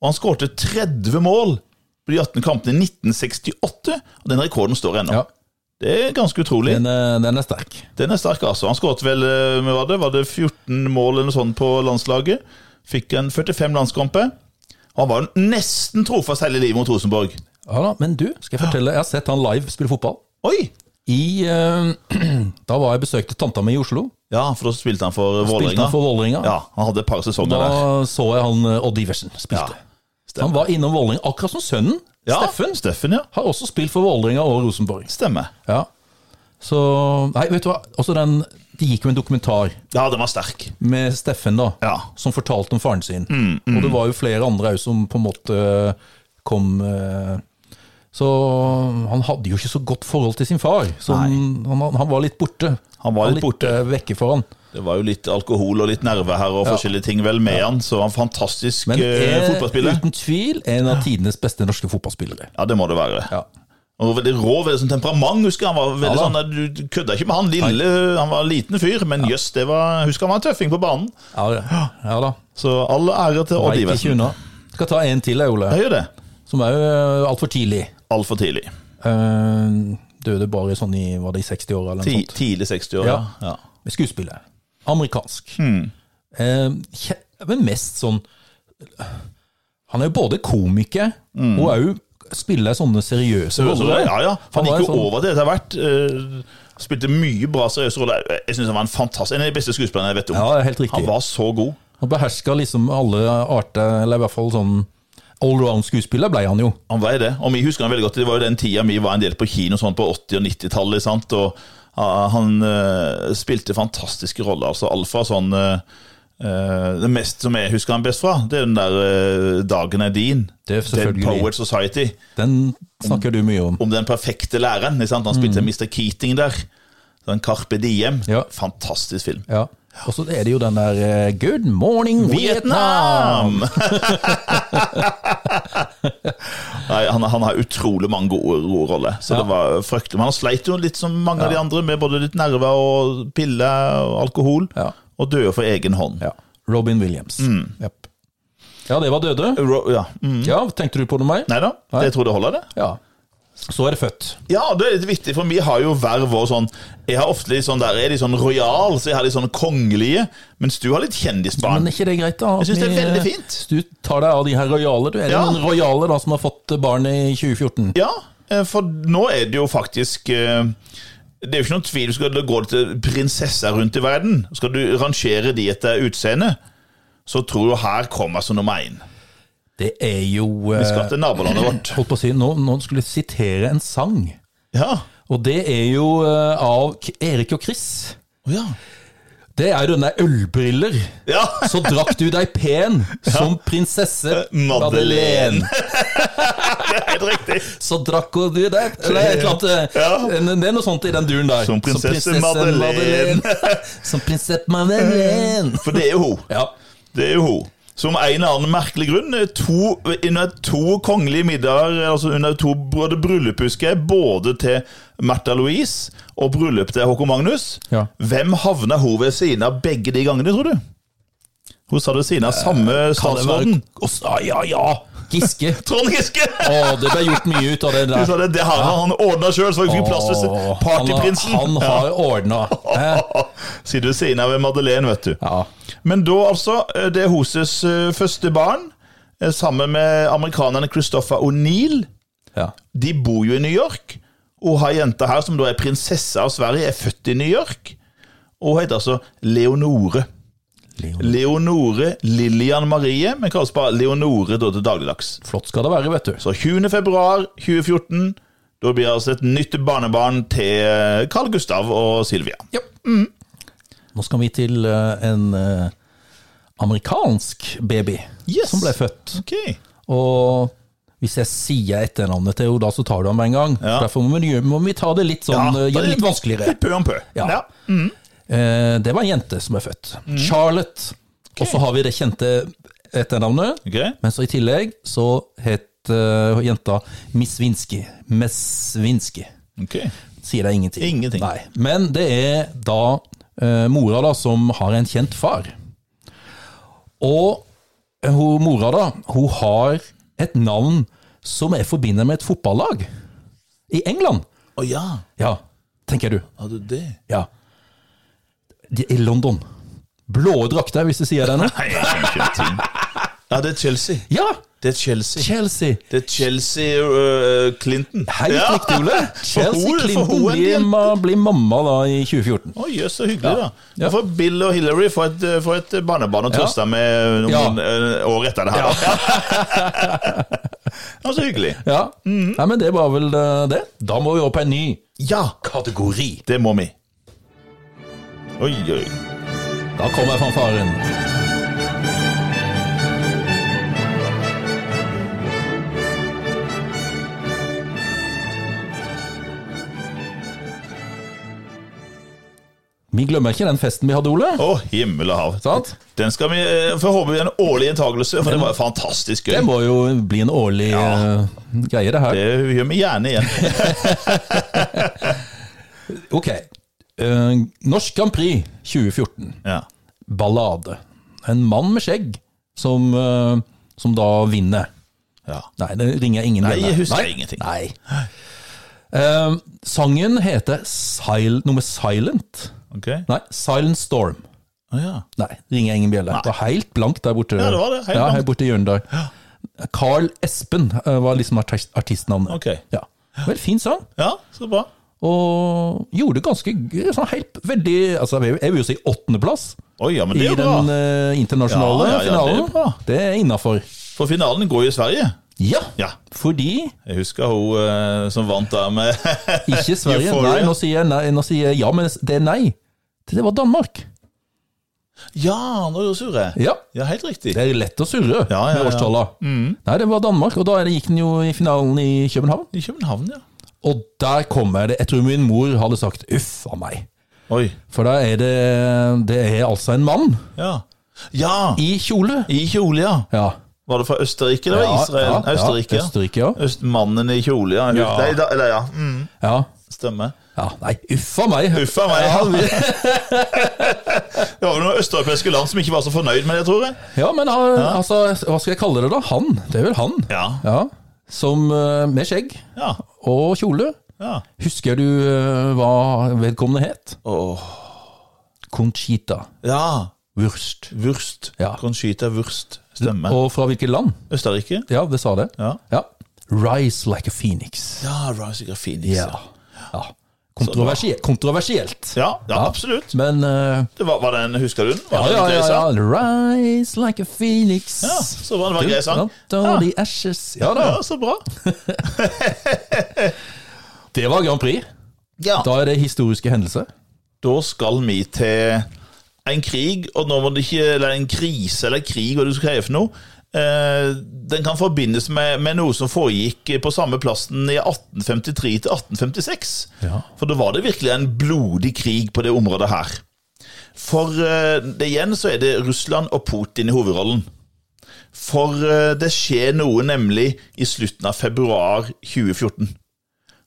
Speaker 2: og han skårte 30 mål på de 18 kampene i 1968. Og den rekorden står ennå.
Speaker 1: ja.
Speaker 2: Det er ganske utrolig.
Speaker 1: Den, er, den er sterk.
Speaker 2: Den er sterk, altså. Han skåret vel eh, hva var det? Var det 14 mål eller noe sånt på landslaget. Fikk en 45 landskamper. Og han var jo nesten trofast hele livet mot Rosenborg.
Speaker 1: Ja da, Men du, skal jeg fortelle, jeg har sett han live spille fotball.
Speaker 2: Oi!
Speaker 1: I, eh, da var jeg besøkte tanta mi i Oslo.
Speaker 2: Ja, for da spilte han for
Speaker 1: Spilte
Speaker 2: Vålerenga.
Speaker 1: han for Vålerenga.
Speaker 2: Ja, han hadde et par sesonger
Speaker 1: Da
Speaker 2: der.
Speaker 1: så jeg han eh, Odd Iversen
Speaker 2: Ja.
Speaker 1: spilte. han var innom Vålerenga, akkurat som sønnen.
Speaker 2: Ja,
Speaker 1: Steffen
Speaker 2: Steffen, ja.
Speaker 1: har også spilt for Vålerenga og Rosenborg.
Speaker 2: Stemmer.
Speaker 1: Ja. Så Nei, vet du hva. Også den, de gikk jo en dokumentar
Speaker 2: Ja, den var sterk.
Speaker 1: med Steffen, da.
Speaker 2: Ja. Mm,
Speaker 1: Som fortalte om faren sin. Og det var jo flere andre òg som på en måte kom eh, Så han hadde jo ikke så godt forhold til sin far. Så han, han, han var litt borte.
Speaker 2: Han var litt borte.
Speaker 1: eh, vekke for han.
Speaker 2: Det var jo litt alkohol og litt nerve her og forskjellige ting vel med han, så han var en fantastisk
Speaker 1: Men
Speaker 2: eh,
Speaker 1: er
Speaker 2: fotballspiller.
Speaker 1: uten tvil en av tidenes beste norske fotballspillere.
Speaker 2: Ja, det må det være.
Speaker 1: Ja.
Speaker 2: Han var veldig rå, veldig sånn temperament. husker jeg. Han var veldig
Speaker 1: Ja da.
Speaker 2: sånn, der, Du kødda ikke med han lille, han var en liten fyr, men jøss, det var Husker han var en tøffing på banen.
Speaker 1: Ja, ja. ja da.
Speaker 2: Så all ære til Odd
Speaker 1: Veit ikke
Speaker 2: Iversen.
Speaker 1: unna. Skal ta en til, jeg, Ole.
Speaker 2: Jeg gjør det.
Speaker 1: Som er jo altfor tidlig.
Speaker 2: Altfor tidlig.
Speaker 1: Eh, døde bare sånn i var det i 60-åra eller noe
Speaker 2: Ti,
Speaker 1: sånt.
Speaker 2: tidlig 60-år. Ja. Ja.
Speaker 1: Skuespiller. Amerikansk.
Speaker 2: Hmm.
Speaker 1: Eh, kje- men mest sånn Han er jo både komiker og òg spiller sånne seriøse
Speaker 2: Hmm. Så- så-
Speaker 1: roller.
Speaker 2: ja, ja. Han
Speaker 1: Han var
Speaker 2: gikk
Speaker 1: en
Speaker 2: jo
Speaker 1: sånn-
Speaker 2: over til etter hvert. eh, Spilte mye bra seriøse roller. Jeg syns han var en fantastisk En av de beste skuespillerne jeg vet om.
Speaker 1: Ja, det er helt riktig.
Speaker 2: Han var så god.
Speaker 1: Han beherska liksom alle arter, eller i hvert fall sånn allround-skuespiller ble han jo.
Speaker 2: Han var det. Og vi husker han veldig godt. Det var jo den tida vi var en del på kino sånn på 80- og 90-tallet. sant? Og ah, han eh, spilte fantastiske roller. altså Alt fra sånn eh, eh, Det mest som jeg husker han best fra, det er den der eh, 'Dagen er din'.
Speaker 1: Det er
Speaker 2: Dead
Speaker 1: selvfølgelig.
Speaker 2: Poet Society.
Speaker 1: Den snakker du mye om.
Speaker 2: Om den perfekte læreren. ikke sant? Han spilte Mr. Keating der. Den Carpe Diem.
Speaker 1: Mm. Ja.
Speaker 2: Fantastisk film.
Speaker 1: Ja. Og så er det jo den der eh, 'Good morning, Vietnam'!
Speaker 2: Vietnam! Nei, han, han har utrolig mange gode, gode roller, så det var fryktelig. Men han sleit jo litt som mange av de andre, med både litt nerver og piller og alkohol,
Speaker 1: Ja.
Speaker 2: og døde for egen hånd.
Speaker 1: Ja. Robin Williams.
Speaker 2: Hmm.
Speaker 1: Japp. Ja, det var døde.
Speaker 2: Ro- Ja. Mm.
Speaker 1: Ja, tenkte du på noe mer?
Speaker 2: Nei da,
Speaker 1: Nei.
Speaker 2: jeg tror det holder, det.
Speaker 1: Ja. Så er det født.
Speaker 2: Ja, det er litt viktig, for vi har jo hver vår sånn Jeg har ofte litt sånn der, jeg er litt sånn rojal, så jeg har litt sånn kongelige, mens du har litt
Speaker 1: Men
Speaker 2: kjendisbarn.
Speaker 1: er ikke det greit, da? at
Speaker 2: Jeg synes det er
Speaker 1: vi, eh,
Speaker 2: veldig fint.
Speaker 1: Du tar deg av de her rojale. Du er
Speaker 2: Ja.
Speaker 1: den rojale da, som har fått barn i 2014.
Speaker 2: Ja, eh, for nå er det jo faktisk eh, Det er jo ikke noen tvil. Skal det gå til prinsesser rundt i verden, skal du rangere de etter utseende, så tror du her kommer som nummer én.
Speaker 1: Det er jo eh,
Speaker 2: Vi skal til nabolandet vårt.
Speaker 1: Holdt på å si, nå, nå skulle jeg sitere en sang.
Speaker 2: Ja.
Speaker 1: Og det er jo eh, av K- Erik og Chris.
Speaker 2: Å ja.
Speaker 1: Det er jo den der ølbriller.
Speaker 2: ja.
Speaker 1: Så drakk du deg pen som prinsesse
Speaker 2: Eh, Madeleine. Det er helt riktig.
Speaker 1: Så drakk hun du det Eller et eller annet
Speaker 2: Ja.
Speaker 1: eh, Det er noe sånt i den duren der.
Speaker 2: Som prinsesse Madeleine.
Speaker 1: Som prinsesse Madeleine.
Speaker 2: For det er jo hun.
Speaker 1: Ja.
Speaker 2: Det er jo hun. Som en eller annen merkelig grunn, eh, to, under to kongelige middager, eh, altså under to både bryllup, husker jeg, både til Märtha Louise og bryllup til Håkon Magnus,
Speaker 1: Ja.
Speaker 2: hvem havna hun ved siden av begge de gangene, tror du? Hun satt ved siden av samme
Speaker 1: Eh, Kan det være
Speaker 2: statsråden.
Speaker 1: Ås- ah, Ja, ja. Giske.
Speaker 2: Trond Giske!
Speaker 1: Å, det ble gjort mye ut av det
Speaker 2: Hun
Speaker 1: der.
Speaker 2: sa det, det har han ordna sjøl, så jeg fikk plass til
Speaker 1: Åh,
Speaker 2: partyprinsen.
Speaker 1: Han, han har ordna. Hæ?
Speaker 2: Ja. Sitter ved siden av Madeleine, vet du.
Speaker 1: Ja.
Speaker 2: Men da altså, det er Hoses eh, første barn, eh, sammen med amerikanerne Christopher O'Neill.
Speaker 1: ja.
Speaker 2: De bor jo i New York, og har jenta her, som da er prinsesse av Sverige, er født i New York. Og hun heter altså Leonore.
Speaker 1: Leon.
Speaker 2: Leonore Lillian Marie, men kalles bare Leonore da til dagligdags.
Speaker 1: Flott skal det være, vet du.
Speaker 2: Så 20. februar 2014, da blir det altså et nytt barnebarn til eh, Carl Gustav og Silvia.
Speaker 1: Ja. Nå skal vi til eh, en eh, amerikansk baby
Speaker 2: Yes.
Speaker 1: som ble født.
Speaker 2: Ok.
Speaker 1: Og hvis jeg sier etternavnet til henne, da så tar du ham med en gang.
Speaker 2: Ja.
Speaker 1: Derfor må vi, gjøre- må vi ta det litt sånn, eh, gjøre det litt vanskeligere.
Speaker 2: Litt pø om pø.
Speaker 1: Ja. Eh, det var en jente som er født. Charlotte. Og så har vi det kjente etternavnet.
Speaker 2: Ok.
Speaker 1: Men så i tillegg så het eh, jenta Misvinski. Mesvinski.
Speaker 2: Ok.
Speaker 1: Sier deg ingenting.
Speaker 2: Ingenting.
Speaker 1: Nei. Men det er da eh, mora da som har en kjent far. Og eh, hun, mora da, hun har et navn som er forbindet med et fotballag i England.
Speaker 2: Å ja,
Speaker 1: Ja, tenker du.
Speaker 2: hadde du det?
Speaker 1: Ja. De, I London. Blå drakter, hvis du sier det nå.
Speaker 2: Nei, jeg skjønner ingenting. Ja, det er Chelsea.
Speaker 1: Ja!
Speaker 2: Det er Chelsea.
Speaker 1: Chelsea.
Speaker 2: Det er Chelsea øh, Clinton.
Speaker 1: Helt
Speaker 2: Ja.
Speaker 1: riktig, Ole.
Speaker 2: For
Speaker 1: Chelsea
Speaker 2: hun- for
Speaker 1: Clinton
Speaker 2: hun er en
Speaker 1: blir,
Speaker 2: jente.
Speaker 1: ma, blir mamma da i 2014.
Speaker 2: Å, jøss, så hyggelig, da.
Speaker 1: Ja.
Speaker 2: Da får Bill og Hillary få et, øh, få et barnebarn å trøste med noen
Speaker 1: Ja.
Speaker 2: øh, år etter det her. da. Ja, så hyggelig.
Speaker 1: Ja.
Speaker 2: Mhm.
Speaker 1: Nei, men det var vel eh, det. Da må vi opp på en ny
Speaker 2: Ja,
Speaker 1: kategori.
Speaker 2: det må vi. Oi, oi.
Speaker 1: Da kommer fanfaren. Vi glemmer ikke den festen vi hadde, Ole.
Speaker 2: Å, himmel og hav.
Speaker 1: Sant?
Speaker 2: Den skal vi eh, får håpe blir en årlig gjentakelse, for det var jo fantastisk gøy.
Speaker 1: Det må jo bli en årlig
Speaker 2: Ja.
Speaker 1: eh, greie, det her.
Speaker 2: Det gjør vi gjerne igjen.
Speaker 1: Ok. Eh, Norsk Grand Prix 2014.
Speaker 2: Ja.
Speaker 1: Ballade. En mann med skjegg som, eh, som da vinner.
Speaker 2: Ja.
Speaker 1: Nei, det ringer ingen
Speaker 2: Nei,
Speaker 1: bjelle.
Speaker 2: jeg husker
Speaker 1: Nei?
Speaker 2: ingenting.
Speaker 1: Nei. Eh, sangen heter Sil noe med Silent.
Speaker 2: Ok. Ja,
Speaker 1: Nei, Silent Storm.
Speaker 2: ja.
Speaker 1: Nei, ringer ingen bjelle. Det var helt blankt der borte.
Speaker 2: Ja, det var det, helt
Speaker 1: Ja,
Speaker 2: blankt.
Speaker 1: helt borte i hjørnet der. Carl Espen eh, var liksom artist artistnavnet.
Speaker 2: Ok.
Speaker 1: Ja. Vel, fin sang.
Speaker 2: ja så bra.
Speaker 1: Og gjorde ganske g- sånn helt veldig altså, Jeg vil- jeg vil jo si åttendeplass
Speaker 2: Oi, ja, men
Speaker 1: i
Speaker 2: det er bra.
Speaker 1: den eh, internasjonale
Speaker 2: Ja, ja, ja, det er
Speaker 1: finalen.
Speaker 2: bra.
Speaker 1: Det er innafor.
Speaker 2: For finalen går jo i Sverige.
Speaker 1: Ja,
Speaker 2: Ja.
Speaker 1: fordi
Speaker 2: Jeg husker hun eh, som vant der med
Speaker 1: Ikke Sverige.
Speaker 2: Euphoria.
Speaker 1: Nei, nå sier jeg nei. Nå sier jeg ja, men det er nei. Det var Danmark.
Speaker 2: Ja, nå surrer jeg.
Speaker 1: Ja.
Speaker 2: eh. Ja, helt riktig.
Speaker 1: Det er lett å surre
Speaker 2: Ja, ja,
Speaker 1: med
Speaker 2: ja. Mm.
Speaker 1: årstalla. Nei, det var Danmark, og da er det- gikk den jo i finalen i København.
Speaker 2: I København, ja.
Speaker 1: Og der kommer det Jeg tror min mor hadde sagt uff a meg.
Speaker 2: Oi.
Speaker 1: For da er det Det er altså en mann
Speaker 2: Ja. Ja!
Speaker 1: i kjole.
Speaker 2: I kjole, ja.
Speaker 1: Ja.
Speaker 2: Var det fra Østerrike eller
Speaker 1: Ja, ja,
Speaker 2: Israel?
Speaker 1: ja,
Speaker 2: Østerrike. ja.
Speaker 1: Østerrike, ja.
Speaker 2: Øst, mannen i kjole, ja.
Speaker 1: Ja.
Speaker 2: Nei, da, eller ja. Mm,
Speaker 1: Ja.
Speaker 2: stemmer.
Speaker 1: ja. Nei, uff a meg.
Speaker 2: Uff a meg. Det var vel noen østeuropeiske land som ikke var så fornøyd med det, tror jeg.
Speaker 1: Ja, men han, altså, hva skal jeg kalle det da? Han. Det er vel han.
Speaker 2: Ja.
Speaker 1: Ja. Som eh, med skjegg
Speaker 2: Ja.
Speaker 1: og kjole.
Speaker 2: ja.
Speaker 1: Husker du eh, hva vedkommende het?
Speaker 2: Åh.
Speaker 1: Conchita
Speaker 2: ja.
Speaker 1: Wurst.
Speaker 2: Wurst.
Speaker 1: Ja.
Speaker 2: Conchita Wurst. Stemmer.
Speaker 1: Og fra hvilket land?
Speaker 2: Østerrike?
Speaker 1: Ja, det sa det.
Speaker 2: Ja.
Speaker 1: Ja. Rise like a phoenix.
Speaker 2: Ja, Rysica Phoenix.
Speaker 1: Ja. ja. Kontroversie kontroversielt.
Speaker 2: Ja, ja, absolutt.
Speaker 1: Men eh,
Speaker 2: Det var, var den, Husker du den?
Speaker 1: ja,
Speaker 2: Var den
Speaker 1: ja,
Speaker 2: grei
Speaker 1: ja,
Speaker 2: sang?
Speaker 1: ja. Rise like a phoenix.
Speaker 2: Ja, så bra. Det var en grei sang.
Speaker 1: Out of the ashes. Ja da.
Speaker 2: Ja, så bra.
Speaker 1: Det var Grand Prix.
Speaker 2: Ja.
Speaker 1: Da er det historiske hendelser.
Speaker 2: Da skal vi til en krig, og nå må det ikke, eller en krise eller krig, hva du skal kreve for noe. Eh, Den kan forbindes med, med noe som foregikk på samme plassen i 1853 til 1856.
Speaker 1: Ja.
Speaker 2: For da var det virkelig en blodig krig på det området her. For eh, det igjen så er det Russland og Putin i hovedrollen. For eh, det skjer noe nemlig i slutten av februar 2014.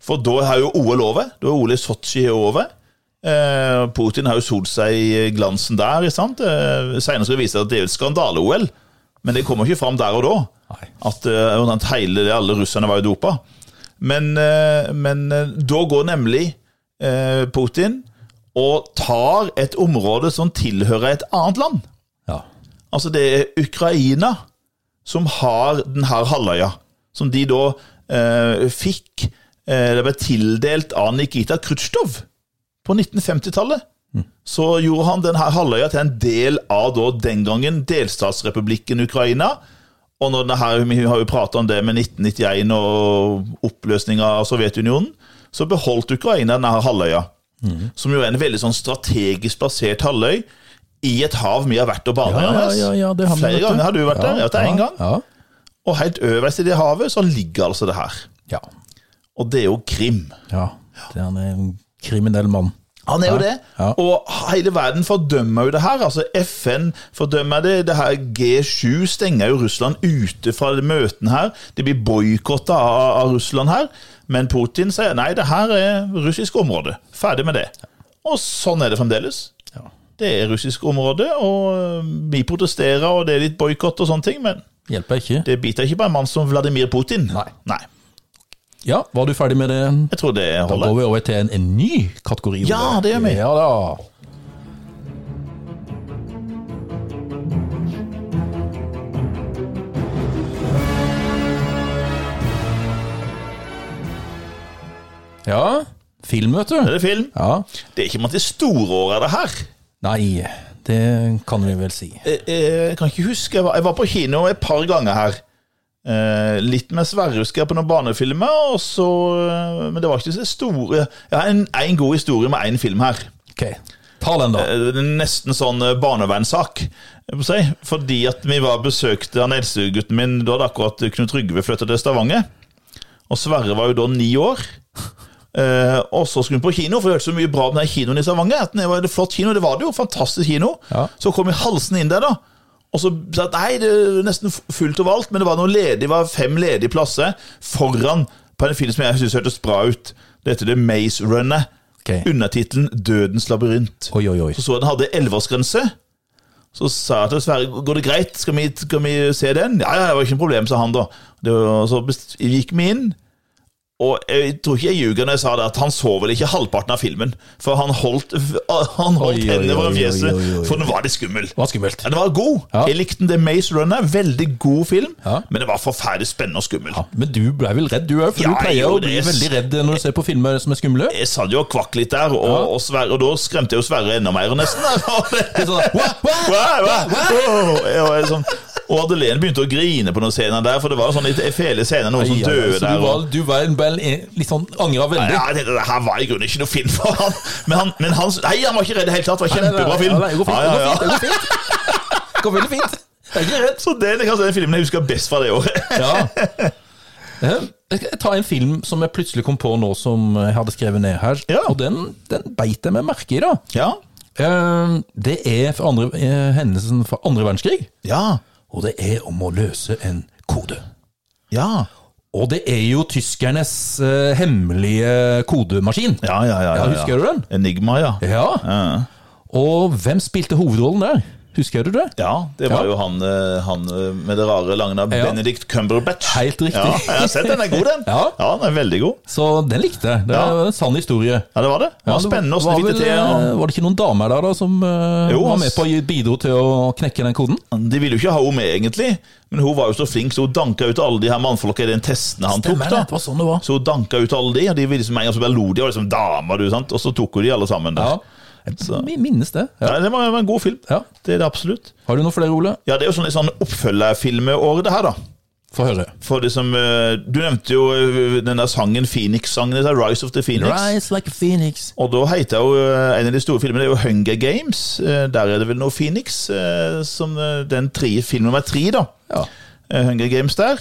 Speaker 2: For da har jo OL over. Da er OL i Sotsji er over. Eh, Putin har jo solt seg i glansen der. ikke sant? Eh, Senere skal det vise seg at det er jo et skandale-OL, men det kommer ikke fram der og da.
Speaker 1: Nei.
Speaker 2: At eh, omtrent hele det, alle russerne var jo dopa. Men, eh, men eh, da går nemlig eh, Putin og tar et område som tilhører et annet land.
Speaker 1: Ja.
Speaker 2: Altså det er Ukraina som har den her halvøya, som de da eh, fikk eh, Det ble tildelt av Nikita Khrusjtsjov på 1950-tallet.
Speaker 1: Mm.
Speaker 2: Så gjorde han den her halvøya til en del av da den gangen delstatsrepublikken Ukraina. Og når det her, vi har jo prata om det med 1991 og oppløsninga av Sovjetunionen, så beholdt Ukraina denne her halvøya.
Speaker 1: Mm.
Speaker 2: Som jo er en veldig sånn strategisk plassert halvøy i et hav vi har vært og bada
Speaker 1: Ja,
Speaker 2: i.
Speaker 1: ja,
Speaker 2: Anders.
Speaker 1: ja, ja, det vi,
Speaker 2: Flere
Speaker 1: vet
Speaker 2: ganger har du vært der. Jeg har vært der én gang.
Speaker 1: Ja.
Speaker 2: Og helt øverst i det havet så ligger altså det her.
Speaker 1: Ja.
Speaker 2: Og det er jo Krim.
Speaker 1: ja. Det er en kriminell mann.
Speaker 2: Han er jo det.
Speaker 1: Ja.
Speaker 2: Og hele verden fordømmer jo det her. Altså FN fordømmer det. det her G7 stenger jo Russland ute fra møtene her. De blir boikotta av, av Russland her. Men Putin sier nei, det her er russisk område. Ferdig med det. Og sånn er det fremdeles.
Speaker 1: Ja.
Speaker 2: Det er russisk område, og eh, vi protesterer, og det er litt boikott og sånne ting, men
Speaker 1: Hjelper ikke.
Speaker 2: det biter ikke på en mann som Vladimir Putin.
Speaker 1: Nei.
Speaker 2: nei.
Speaker 1: Ja, var du ferdig med det?
Speaker 2: Jeg tror det
Speaker 1: Da
Speaker 2: holder.
Speaker 1: går vi over til en, en ny kategori. Ole.
Speaker 2: Ja, det gjør vi.
Speaker 1: Ja da. Ja, film, vet
Speaker 2: Er
Speaker 1: du.
Speaker 2: det film?
Speaker 1: Ja.
Speaker 2: Det er ikke om at det er storåret, det her.
Speaker 1: Nei, det kan vi vel si.
Speaker 2: Eh, eh, Jeg kan ikke huske, jeg var, jeg var på kino et par ganger her. Eh, litt med Sverre husker jeg på noen barnefilmer, og så, eh, men det var ikke så store Jeg har en, en god historie med én film her.
Speaker 1: Ok, ta den da.
Speaker 2: Eh, det er nesten sånn eh, barnevernssak. jeg må Si. Fordi at vi var besøkte han eldstegutten min, da hadde akkurat Knut Trygve flyttet til Stavanger. Og Sverre var jo da ni år. Eh, og så skulle vi på kino, for jeg hørte så mye bra om den her kinoen i Stavanger. at Det var en flott kino, det var det jo, fantastisk kino.
Speaker 1: Ja.
Speaker 2: Så kom jeg halsen inn der, da. Og så sa jeg nei, det er nesten fullt overalt, men det var noen ledige, det var fem ledige plasser foran på en film som jeg syntes hørtes bra ut. Det heter The Maze Runner.
Speaker 1: Ok.
Speaker 2: Undertittelen Dødens labyrint.
Speaker 1: Oi, oi, oi.
Speaker 2: Så så jeg den hadde elleveårsgrense. Så sa jeg til Sverre går det greit, skal vi, skal vi se den? Ja, ja, det var ikke noe problem, sa han da. Det var, så best- gikk vi inn, og jeg tror ikke jeg ljuger når jeg sa det, at han så vel ikke halvparten av filmen. For han holdt, han
Speaker 1: Oi,
Speaker 2: holdt
Speaker 1: oi,
Speaker 2: hendene
Speaker 1: oi,
Speaker 2: over
Speaker 1: oi,
Speaker 2: fjeset,
Speaker 1: oi, oi.
Speaker 2: for den var litt skummel.
Speaker 1: Det var skummelt.
Speaker 2: Ja, den var god.
Speaker 1: Ja.
Speaker 2: Jeg likte den. The Maze Runner, veldig god film,
Speaker 1: Ja.
Speaker 2: men det var forferdelig spennende og skummel.
Speaker 1: Ja, men du ble vel redd du òg, for
Speaker 2: Ja,
Speaker 1: du pleier
Speaker 2: jo,
Speaker 1: å bli
Speaker 2: det er s-
Speaker 1: veldig redd når du ser på filmer som er skumle.
Speaker 2: Jeg satt jo og kvakk litt der, og,
Speaker 1: Ja.
Speaker 2: og, Sverre, og da skremte jeg jo Sverre enda mer, nesten.
Speaker 1: Det er sånn, «Hva? Hva?»
Speaker 2: Wow, wow, wow. Jeg var sånn, og Adelene begynte å grine på noen scener der, for det var sånn litt fæle scener, noen som
Speaker 1: Ja, ja,
Speaker 2: døde
Speaker 1: så du
Speaker 2: der.
Speaker 1: var,
Speaker 2: Og,
Speaker 1: du var en vel en- litt sånn angra veldig.
Speaker 2: ja, jeg tenkte, det her var i grunnen ikke noe film for han. Men han, men han Nei, han var ikke redd i det hele tatt. Det
Speaker 1: Nei,
Speaker 2: var
Speaker 1: nei,
Speaker 2: kjempebra
Speaker 1: nei,
Speaker 2: film.
Speaker 1: nei, Det går fint.
Speaker 2: Ja,
Speaker 1: det
Speaker 2: ja,
Speaker 1: går
Speaker 2: ja.
Speaker 1: fint, det går fint. Det går veldig fint. Jeg er ikke redd.
Speaker 2: Så det er kanskje den filmen jeg husker best fra det året.
Speaker 1: Ja. Eh, Jeg skal ta en film som jeg plutselig kom på nå som jeg hadde skrevet ned her.
Speaker 2: Ja.
Speaker 1: Og den, den beit jeg meg merke i, da.
Speaker 2: Ja.
Speaker 1: Eh, Det er fra andre, eh, hendelsen fra andre verdenskrig.
Speaker 2: Ja.
Speaker 1: Og det er om å løse en kode.
Speaker 2: Ja.
Speaker 1: Og det er jo tyskernes eh, hemmelige kodemaskin.
Speaker 2: Ja, ja, ja,
Speaker 1: Ja, husker du den?
Speaker 2: Enigma, ja.
Speaker 1: Ja.
Speaker 2: Ja.
Speaker 1: Og hvem spilte hovedrollen der? Husker du det?
Speaker 2: Ja, det var
Speaker 1: Ja.
Speaker 2: jo han, eh, han eh, med det rare lange navnet
Speaker 1: Ja.
Speaker 2: Benedict Cumberbatch.
Speaker 1: Helt riktig.
Speaker 2: Ja, jeg har sett den, den er god, den.
Speaker 1: Ja.
Speaker 2: den er veldig god.
Speaker 1: Så den likte jeg. Det er
Speaker 2: Ja.
Speaker 1: en sann historie.
Speaker 2: Ja, det var det. Det var spennende
Speaker 1: var
Speaker 2: hvordan de fikk
Speaker 1: vel,
Speaker 2: det til.
Speaker 1: eh, Var det ikke noen damer der da som eh,
Speaker 2: Jo,
Speaker 1: var
Speaker 2: ass.
Speaker 1: med på å gi- bidro til å knekke den koden?
Speaker 2: og De ville jo ikke ha henne med, egentlig, men hun var jo så flink, så hun danka ut alle de her mannfolka i den testen han
Speaker 1: Stemmer det,
Speaker 2: tok.
Speaker 1: det var
Speaker 2: da.
Speaker 1: sånn det var.
Speaker 2: Så hun danka ut alle de, og de ville liksom, en gang så bare lo de, og liksom damer, du, sant? og så tok hun de alle sammen
Speaker 1: Ja.
Speaker 2: der.
Speaker 1: Jeg mi- minnes det. Ja.
Speaker 2: Nei, det var det var en god film.
Speaker 1: Ja.
Speaker 2: Det er det absolutt.
Speaker 1: Har du noe flere, Ole?
Speaker 2: Ja, det er jo sånn, litt sånn oppfølgerfilmåret, det her, da.
Speaker 1: Få høre.
Speaker 2: For det som, eh, du nevnte jo eh, den der sangen, Phoenix-sangen, det der Rise of the Phoenix.
Speaker 1: Rise like a phoenix.
Speaker 2: Og da heter jo eh, en av de store filmene det er jo Hunger Games. Eh, Der er det vel noe Phoenix, eh, som eh, den tre, film nummer tre, da.
Speaker 1: Ja.
Speaker 2: Eh, Hunger Games der.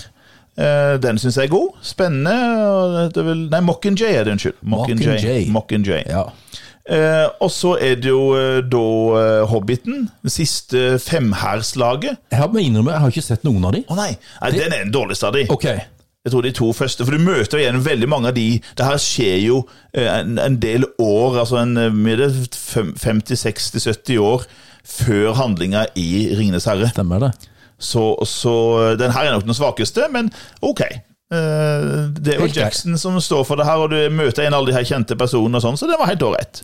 Speaker 2: Eh, Den syns jeg er god. Spennende. og Det er vel, nei, Mockingjay er det, unnskyld.
Speaker 1: Mockingjay.
Speaker 2: Mockingjay.
Speaker 1: ja.
Speaker 2: Eh, og så er det jo eh, da eh, Hobbiten. Det siste femhærslaget.
Speaker 1: Jeg har med innrømme, jeg har ikke sett noen av de.
Speaker 2: Å nei, nei den er den dårligste av de.
Speaker 1: Ok.
Speaker 2: Jeg tror de to første, for du møter jo igjen veldig mange av de Det her skjer jo eh, en, en del år, altså en, eh, mye det, fem- 50, 60, 70 år før handlinga i 'Ringenes herre'.
Speaker 1: Stemmer det.
Speaker 2: Så, så eh, den her er nok den svakeste, men ok. Eh, Det er jo
Speaker 1: Helt greit.
Speaker 2: Jackson som står for det her, og du møter en av alle de her kjente personene, og sånn, så det var helt ålreit.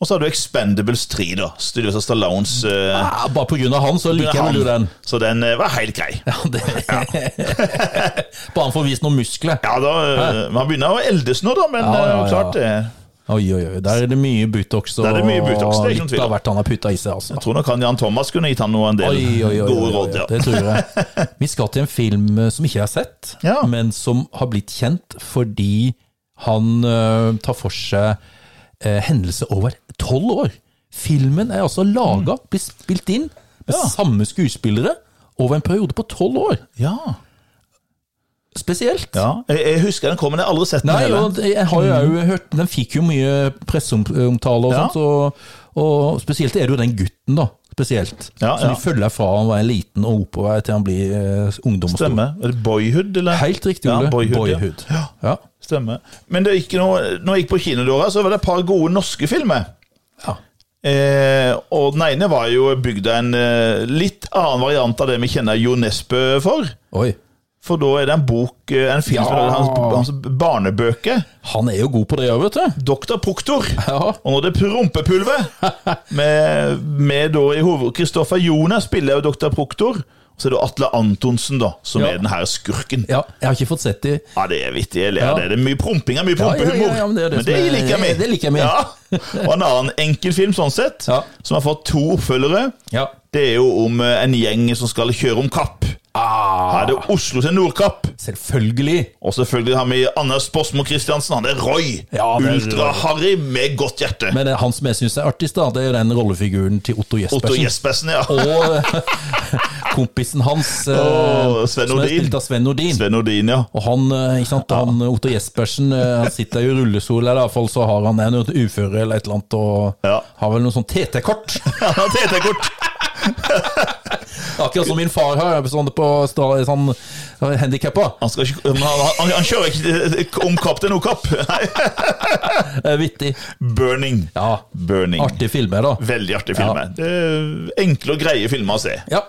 Speaker 2: Og så har du Expendables 3, da. Studios av Stallones eh,
Speaker 1: Ah, bare på grunn av han, så liker jeg
Speaker 2: han.
Speaker 1: vel du den.
Speaker 2: Så den eh, var helt grei.
Speaker 1: Ja, det. Bare han får vist noen muskler.
Speaker 2: Ja, da, eh, Man begynner å eldes nå, da, men
Speaker 1: Ja, ja,
Speaker 2: eh, klart det.
Speaker 1: Oi, oi, oi. Der er det mye Butox og
Speaker 2: Der er det mye Botox, det er ikke noen
Speaker 1: litt
Speaker 2: tvil om.
Speaker 1: av hvert han har putta i seg. altså.
Speaker 2: Jeg tror nok han Jan Thomas kunne gitt han noe en del
Speaker 1: Oi, oi, oi, oi, oi,
Speaker 2: gode
Speaker 1: oi.
Speaker 2: råd. Ja.
Speaker 1: Det tror jeg. Vi skal til en film eh, som ikke jeg har sett,
Speaker 2: Ja.
Speaker 1: men som har blitt kjent fordi han eh, tar for seg eh, hendelser over tolv år. Filmen er altså laga, blir spilt inn med
Speaker 2: Mm. Ja.
Speaker 1: samme skuespillere over en periode på tolv år.
Speaker 2: Ja.
Speaker 1: Spesielt.
Speaker 2: ja. Jeg, jeg husker den kom, men jeg har aldri sett den
Speaker 1: Nei,
Speaker 2: heller.
Speaker 1: og det- jeg har jo også hørt Den fikk jo mye presseomtale og
Speaker 2: Mm. Ja.
Speaker 1: sånt, og, og spesielt er det jo den gutten, da. Spesielt.
Speaker 2: Ja,
Speaker 1: Som
Speaker 2: ja.
Speaker 1: de følger fra han var liten og oppover til han blir eh, ungdom. og stor.
Speaker 2: Stemmer. Er det Boyhood, eller?
Speaker 1: Helt riktig, Ole.
Speaker 2: Ja, Boyhood.
Speaker 1: Boyhood.
Speaker 2: Ja.
Speaker 1: Ja.
Speaker 2: ja, stemmer. Men det er ikke noe, når jeg gikk på kinodøra, så var det et par gode norske filmer.
Speaker 1: Ja.
Speaker 2: Eh, og den ene var jo bygd av en eh, litt annen variant av det vi kjenner Jo Nesbø for.
Speaker 1: Oi.
Speaker 2: For da er det en bok, eh, en film som
Speaker 1: Ja.
Speaker 2: er hans, hans barnebøker.
Speaker 1: Han er jo god på det òg, vet du.
Speaker 2: Doktor Proktor.
Speaker 1: Ja.
Speaker 2: Og nå er det prompepulver! Med, med da i hoved... Kristoffer Jonas spiller jo Dr. Proktor. Og så er det Atle Antonsen, da, som
Speaker 1: Ja.
Speaker 2: er den her skurken. Ja.
Speaker 1: ja. Jeg har ikke fått sett de
Speaker 2: det er vittig. Jeg ler
Speaker 1: Ja.
Speaker 2: det. Det er mye promping og mye
Speaker 1: ja, ja,
Speaker 2: prompehumor.
Speaker 1: ja, men det er det som er-
Speaker 2: liker jeg med.
Speaker 1: det- det liker jeg med.
Speaker 2: Ja. Og en annen enkel film sånn sett,
Speaker 1: Ja.
Speaker 2: som har fått to oppfølgere,
Speaker 1: Ja.
Speaker 2: det er jo om eh, en gjeng som skal kjøre om Kapp.
Speaker 1: Ah,
Speaker 2: Her er det Oslo til Nordkapp.
Speaker 1: selvfølgelig.
Speaker 2: Og selvfølgelig har vi Anders Båsmo Christiansen. Han er Roy.
Speaker 1: Ja, det er
Speaker 2: Ultra-Harry med godt hjerte.
Speaker 1: Men det er han som jeg syns er artigst, da, det er jo den rollefiguren til Otto
Speaker 2: Otto
Speaker 1: Jespersen.
Speaker 2: Jespersen, ja.
Speaker 1: og kompisen hans, eh,
Speaker 2: Åh, Sven
Speaker 1: som er
Speaker 2: Nordin.
Speaker 1: spilt av Sven Nordin.
Speaker 2: Sven Nordin, ja.
Speaker 1: Og han, eh, ikke sant, han eh, Otto Jespersen eh, han sitter jo i rullestol, eller i hvert fall så har han en uføre eller et eller annet, og
Speaker 2: Ja.
Speaker 1: har vel noe sånn TT-kort.
Speaker 2: Han har TT-kort!
Speaker 1: Akkurat som min far har, sånn på stra- sånn handikappa.
Speaker 2: Han, skal ikke, men han, han, han kjører ikke om kapp til noe kapp. Nei.
Speaker 1: Eh, Vittig.
Speaker 2: Burning.
Speaker 1: Ja,
Speaker 2: Burning.
Speaker 1: artig filmer da.
Speaker 2: Veldig artig film.
Speaker 1: Ja.
Speaker 2: Det er Enkle og greie filmer å se.
Speaker 1: Ja.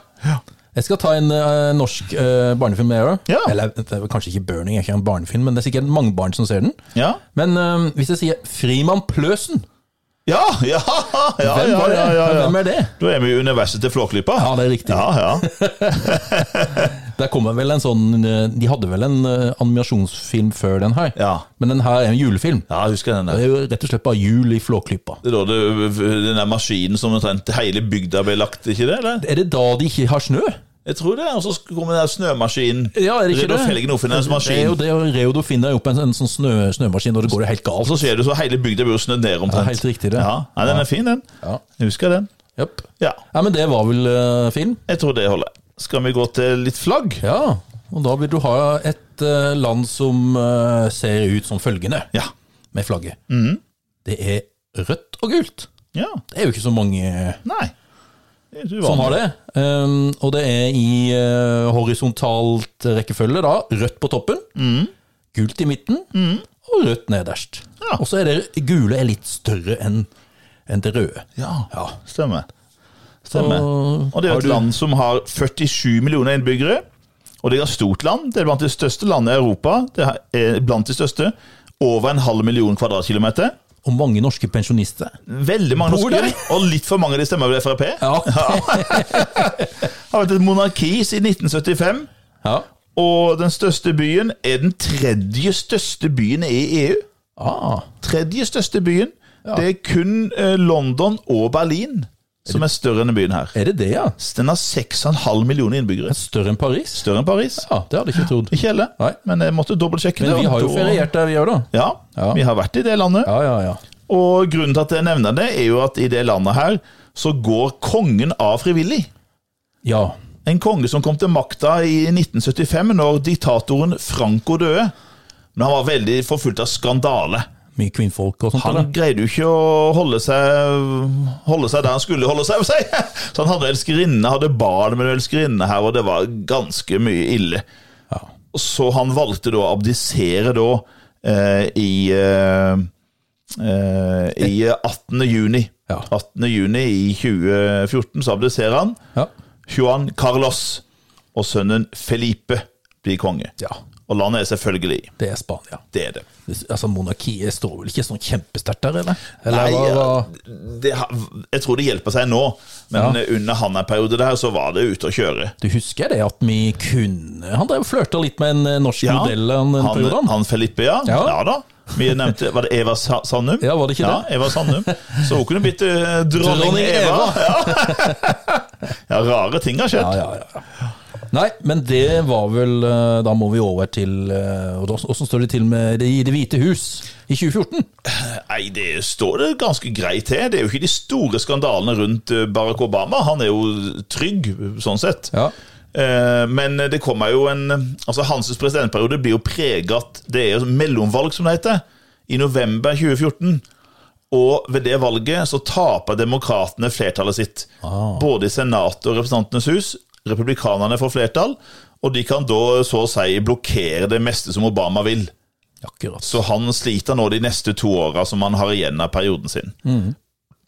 Speaker 1: Jeg skal ta en eh, norsk eh, barnefilm jeg òg.
Speaker 2: Ja.
Speaker 1: Eller det er vel kanskje ikke 'Burning', er ikke en barnefilm, men det er sikkert mange barn som ser den.
Speaker 2: Ja,
Speaker 1: Men eh, hvis jeg sier 'Frimann Pløsen',
Speaker 2: ja, ja! ja,
Speaker 1: hvem,
Speaker 2: ja,
Speaker 1: var det?
Speaker 2: ja, ja, ja.
Speaker 1: hvem er det?
Speaker 2: Da er vi i universet til Flåklypa.
Speaker 1: Ja, det er riktig.
Speaker 2: Ja, ja.
Speaker 1: Der kommer vel en sånn eh, De hadde vel en eh, animasjonsfilm før den her,
Speaker 2: Ja.
Speaker 1: men den her er en julefilm.
Speaker 2: ja, jeg husker den
Speaker 1: Det
Speaker 2: der.
Speaker 1: er jo rett og slett bare jul i Flåklypa.
Speaker 2: Det er da det, den der maskinen som omtrent hele bygda ble lagt, ikke det? eller?
Speaker 1: Er det da de ikke har snø?
Speaker 2: Jeg tror det. Og så kommer den der snømaskinen.
Speaker 1: Ja, er det ikke det?
Speaker 2: Felgen Ofinens
Speaker 1: Det er
Speaker 2: maskin.
Speaker 1: jo det, og Reodor finner jo opp en, en sånn snø, snømaskin, og det går jo helt
Speaker 2: Og
Speaker 1: galt.
Speaker 2: så ser du så hele bygda blir jo snødd ned omtrent.
Speaker 1: Ja, helt riktig det.
Speaker 2: Ja, ja den er fin, den.
Speaker 1: Ja.
Speaker 2: Jeg husker den.
Speaker 1: Japp.
Speaker 2: Ja,
Speaker 1: Ja, men det var vel eh, film?
Speaker 2: jeg tror det holder. Skal vi gå til litt flagg?
Speaker 1: Ja, og da vil du ha et eh, land som eh, ser ut som følgende
Speaker 2: Ja.
Speaker 1: med flagget. Det er rødt og gult.
Speaker 2: Ja.
Speaker 1: Det er jo ikke så mange eh,
Speaker 2: Nei. Det er
Speaker 1: som
Speaker 2: uvanlig.
Speaker 1: har det. Um, og det er i eh, horisontalt rekkefølge, da. Rødt på toppen, gult i midten og rødt nederst.
Speaker 2: Ja.
Speaker 1: Og så er det gule er litt større enn enn det røde.
Speaker 2: Ja,
Speaker 1: Ja.
Speaker 2: stemmer. Stemmer.
Speaker 1: Så
Speaker 2: Og det er
Speaker 1: har du-
Speaker 2: et land som har 47 millioner innbyggere. Og det er et stort land. Det er blant de største landene i Europa. Det er blant de største. Over en halv million kvadratkilometer.
Speaker 1: Og mange norske pensjonister.
Speaker 2: Veldig mange
Speaker 1: Bor
Speaker 2: norske,
Speaker 1: der?
Speaker 2: og litt for mange av de stemmer ved Frp.
Speaker 1: Ja.
Speaker 2: Har vært et monarki siden 1975.
Speaker 1: ja.
Speaker 2: Og den største byen er den tredje største byen i EU.
Speaker 1: Ah.
Speaker 2: Tredje største byen. Det er kun eh, London og Berlin som er større enn byen her.
Speaker 1: Er det det, ja?
Speaker 2: Den har 6,5 millioner innbyggere.
Speaker 1: Større enn Paris?
Speaker 2: Større enn Paris.
Speaker 1: Ja, det hadde jeg ikke trodd.
Speaker 2: Ikke heller,
Speaker 1: Nei.
Speaker 2: men jeg måtte dobbeltsjekke
Speaker 1: Men
Speaker 2: det.
Speaker 1: vi
Speaker 2: og
Speaker 1: har jo
Speaker 2: da-
Speaker 1: feriert der vi gjør, da.
Speaker 2: Ja,
Speaker 1: Ja.
Speaker 2: vi har vært i det landet.
Speaker 1: Ja, ja, ja.
Speaker 2: Og grunnen til at jeg nevner det, er jo at i det landet her så går kongen av frivillig.
Speaker 1: Ja,
Speaker 2: En konge som kom til makta i 1975, når diktatoren Franco døde. Men han var veldig forfulgt av skandale.
Speaker 1: Mye kvinnfolk og sånt.
Speaker 2: Han
Speaker 1: eller?
Speaker 2: greide jo ikke å holde seg, holde seg der han skulle holde seg. vil jeg Si. Så han hadde elskerinne, hadde barn med en elskerinne her, og det var ganske mye ille.
Speaker 1: Ja.
Speaker 2: Så han valgte da å abdisere da eh, i eh, eh, I 18. juni.
Speaker 1: Ja.
Speaker 2: 18. juni i 2014 så abdiserer han.
Speaker 1: Ja.
Speaker 2: Juan Carlos og sønnen Felipe blir konge.
Speaker 1: ja,
Speaker 2: Og landet er selvfølgelig
Speaker 1: det er Spania.
Speaker 2: Det er det.
Speaker 1: Det- Altså, Monarkiet står vel ikke sånn kjempesterkt der, eller?
Speaker 2: Nei,
Speaker 1: eller hva- hva-
Speaker 2: det, har- jeg tror det hjelper seg nå, men under han en periode der, så var det ute å kjøre.
Speaker 1: Du husker det at vi kunne Han drev og flørta litt med en eh, norsk
Speaker 2: Ja,
Speaker 1: modell en, en
Speaker 2: han,
Speaker 1: periode. han.
Speaker 2: han Felipe, ja. ja.
Speaker 1: Ja.
Speaker 2: da. Vi nevnte Var det Eva Sa- Sandum?
Speaker 1: Ja, var det ikke
Speaker 2: Ja, Eva Sandum. Så hun kunne blitt eh, dronning,
Speaker 1: Dronning
Speaker 2: Eva. Ja. ja, rare ting har
Speaker 1: Ja,
Speaker 2: skjedd.
Speaker 1: ja, ja, ja. Nei, men det var vel eh, Da må vi over til eh, og da- Åssen står det til med Det, i det hvite hus i 2014?
Speaker 2: Nei, det står det ganske greit til. Det er jo ikke de store skandalene rundt eh, Barack Obama. Han er jo trygg, sånn sett.
Speaker 1: Ja.
Speaker 2: Eh, Men det kommer jo en Altså Hans presidentperiode blir jo preget at Det er jo mellomvalg, som det heter, i november 2014. Og ved det valget så taper demokratene flertallet sitt. Både i Senatet og Representantenes hus. Republikanerne får flertall, og de kan da så å si blokkere det meste som Obama vil.
Speaker 1: Akkurat.
Speaker 2: Så han sliter nå de neste to åra som han har igjen av perioden sin.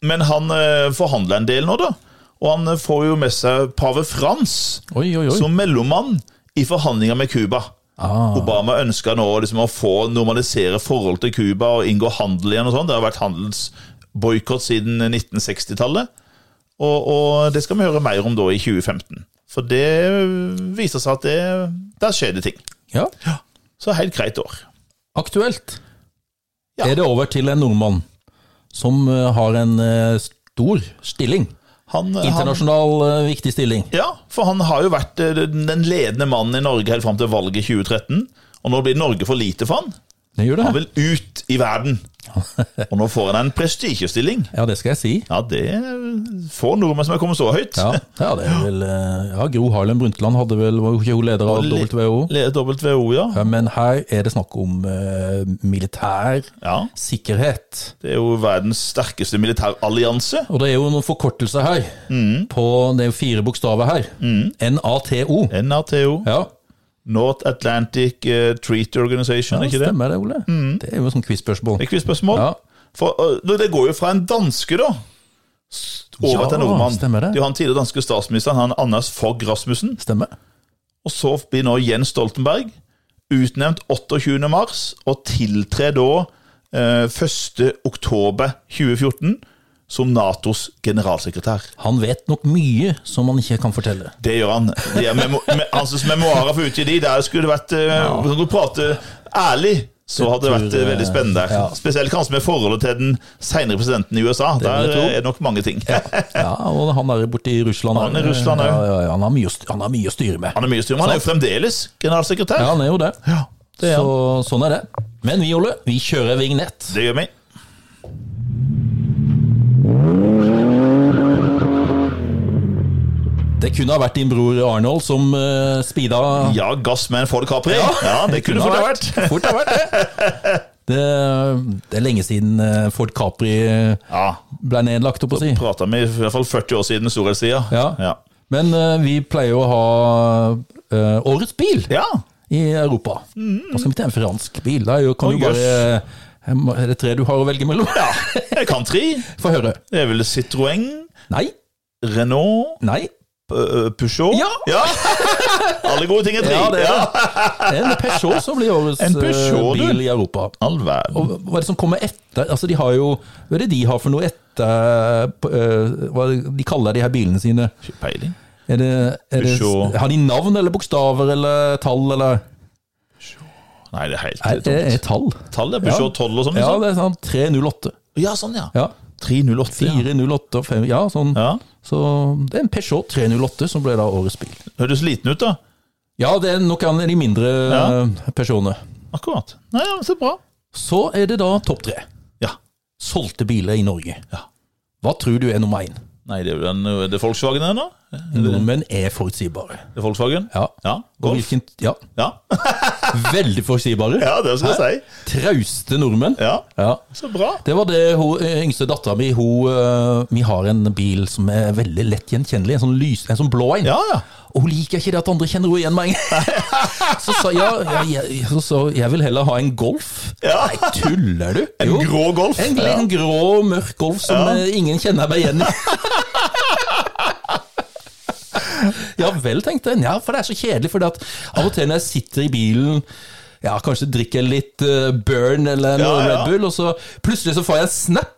Speaker 2: Men han eh, forhandler en del nå, da. Og han eh, får jo med seg pave Frans
Speaker 1: Oi, oi, oi.
Speaker 2: som mellommann i forhandlinger med Cuba.
Speaker 1: Ah.
Speaker 2: Obama ønsker nå liksom å få normalisere forhold til Cuba og inngå handel igjen. og sånn. Det har vært handelsboikott siden 1960-tallet. Og, og det skal vi høre mer om da i 2015. For det viser seg at det, der skjer det ting.
Speaker 1: Ja.
Speaker 2: Så helt greit år.
Speaker 1: Aktuelt
Speaker 2: Ja.
Speaker 1: er det over til en nordmann som eh, har en eh, stor stilling.
Speaker 2: Han, han,
Speaker 1: Internasjonal eh, viktig stilling.
Speaker 2: ja, for han har jo vært eh, den den ledende mannen i Norge helt fram til valget i 2013. Og nå blir Norge for lite for han.
Speaker 1: Det gjør det.
Speaker 2: Han vil ut i verden. Og nå får han en prestisjestilling.
Speaker 1: Ja, det skal jeg si.
Speaker 2: Ja, det er få nordmenn som er kommet så høyt.
Speaker 1: Ja, ja det er vel eh, Ja, Gro Harlem Brundtland hadde vel, var jo ikke hun leder av
Speaker 2: Le-
Speaker 1: WHO?
Speaker 2: Le- WHO, ja.
Speaker 1: Ja, men her er det snakk om eh, militær
Speaker 2: ja.
Speaker 1: sikkerhet.
Speaker 2: Det er jo verdens sterkeste militærallianse.
Speaker 1: Og det er jo noen forkortelser her.
Speaker 2: Mm.
Speaker 1: På, det er jo fire bokstaver her. NATO.
Speaker 2: NATO.
Speaker 1: Ja,
Speaker 2: North Atlantic eh, Treaty Organization,
Speaker 1: ja
Speaker 2: er ikke det? Mm.
Speaker 1: stemmer det, Ole. Det er jo et sånt quiz-spørsmål.
Speaker 2: Det er quizspørsmål.
Speaker 1: Ja.
Speaker 2: For, eh, det går jo fra en danske, da, s- over
Speaker 1: Ja,
Speaker 2: til en nordmann.
Speaker 1: stemmer det.
Speaker 2: er jo han tidligere danske statsministeren, han Anders Fogh Rasmussen.
Speaker 1: Stemmer.
Speaker 2: Og så blir nå Jens Stoltenberg utnevnt 28. mars, og tiltrer da eh, 1. oktober 2014 som Natos generalsekretær.
Speaker 1: Han vet nok mye som han ikke kan fortelle.
Speaker 2: Det gjør han. De er memo me hans memoarer for utgi de, der skulle det vært eh, Hvis han kunne prate ærlig, så hadde det vært eh, veldig spennende.
Speaker 1: Ja.
Speaker 2: Spesielt kanskje med forholdet til den senere presidenten i USA.
Speaker 1: vil jeg
Speaker 2: Der
Speaker 1: tro.
Speaker 2: eh, er det nok mange ting.
Speaker 1: Ja, og han er borte i Russland.
Speaker 2: Han er i Russland,
Speaker 1: ja.
Speaker 2: ja.
Speaker 1: Ja, ja, han, har mye, å st- han har mye å styre med.
Speaker 2: Han er mye styr, men han er jo fremdeles generalsekretær.
Speaker 1: Ja, han er jo det.
Speaker 2: Ja, det er han.
Speaker 1: Så, sånn er det. Men vi, Ole, vi kjører vignett.
Speaker 2: Det gjør vi.
Speaker 1: Det kunne ha vært din bror Arnold som uh, speeda
Speaker 2: Ja, gass med en Ford Capri. Ja, det kunne fort ha vært.
Speaker 1: Fort ha vært det. det. Det er lenge siden eh, Ford Capri eh,
Speaker 2: Ja,
Speaker 1: ble nedlagt, holdt jeg på å si.
Speaker 2: Prata med i hvert fall 40 år siden storhetstida.
Speaker 1: Ja.
Speaker 2: Ja.
Speaker 1: Men eh, vi pleier å ha eh, årets bil
Speaker 2: ja. Mm.
Speaker 1: i Europa. Nå skal vi til en fransk bil. Da er jo- kan
Speaker 2: Å,
Speaker 1: du bare Jeg må- Er det tre du har å velge mellom?
Speaker 2: ja. Jeg kan tre.
Speaker 1: Få høre.
Speaker 2: Det er vel Citroën,
Speaker 1: Nei.
Speaker 2: Renault
Speaker 1: Nei.
Speaker 2: P- Peugeot?
Speaker 1: Ja.
Speaker 2: Alle gode ting er tre.
Speaker 1: Ja, det er det. Det er en Peugeot som blir årets
Speaker 2: En
Speaker 1: eh,
Speaker 2: Peugeot, du.
Speaker 1: bil i Europa.
Speaker 2: All verden.
Speaker 1: Og hva er det som kommer etter? Altså, de har jo Hva er det de har for noe etter på, eh, Hva er det de kaller de her bilene sine?
Speaker 2: Ikke peiling.
Speaker 1: Er det, er det,
Speaker 2: Peugeot.
Speaker 1: har de navn eller bokstaver eller tall, eller
Speaker 2: Nei, det er helt
Speaker 1: Er det er
Speaker 2: tomt.
Speaker 1: tall?
Speaker 2: Tallet er Peugeot 12 og sånn?
Speaker 1: Ja,
Speaker 2: Liksom.
Speaker 1: det er sånn 308.
Speaker 2: Ja, sånn, ja.
Speaker 1: Ja.
Speaker 2: 308. Ja.
Speaker 1: 408 og 5 Ja, sånn.
Speaker 2: ja.
Speaker 1: Så det er en Peugeot 308 som ble da årets bil.
Speaker 2: Høres liten ut, da.
Speaker 1: Ja, det er nok en av de mindre
Speaker 2: Ja.
Speaker 1: eh, Peugeotene.
Speaker 2: Akkurat. Nei, ja, men Så bra.
Speaker 1: Så er det da topp tre.
Speaker 2: Ja.
Speaker 1: Solgte biler i Norge.
Speaker 2: Ja.
Speaker 1: Hva tror du er nummer én?
Speaker 2: Nei, det er jo den er Det er Volkswagen ennå?
Speaker 1: Nordmenn er forutsigbare.
Speaker 2: Det er Volkswagen?
Speaker 1: Ja.
Speaker 2: Ja.
Speaker 1: Og
Speaker 2: Golf?
Speaker 1: hvilken, ja,
Speaker 2: Ja.
Speaker 1: Veldig forutsigbare.
Speaker 2: ja, det skal jeg si.
Speaker 1: Trauste nordmenn.
Speaker 2: Ja,
Speaker 1: Ja.
Speaker 2: så bra.
Speaker 1: Det var det hun, eh, yngste dattera mi hun, eh, Vi har en bil som er veldig lett gjenkjennelig. En sånn, lys, en sånn blå en.
Speaker 2: Ja, ja.
Speaker 1: Og hun liker ikke det at andre kjenner henne igjen med en gang. Så sa ja, jeg, jeg- så, sa, jeg vil heller ha en Golf.
Speaker 2: Ja.
Speaker 1: Nei, tuller du?
Speaker 2: En grå Golf.
Speaker 1: En,
Speaker 2: Ja.
Speaker 1: en grå, mørk Golf som
Speaker 2: Ja.
Speaker 1: eh, ingen kjenner meg igjen i. Ja vel, tenkte jeg. Ja, for det er så kjedelig. For at av og til når jeg sitter i bilen ja, Kanskje drikker litt eh, Burn eller noe
Speaker 2: Ja, ja.
Speaker 1: Red Bull, og så plutselig så får jeg en snap.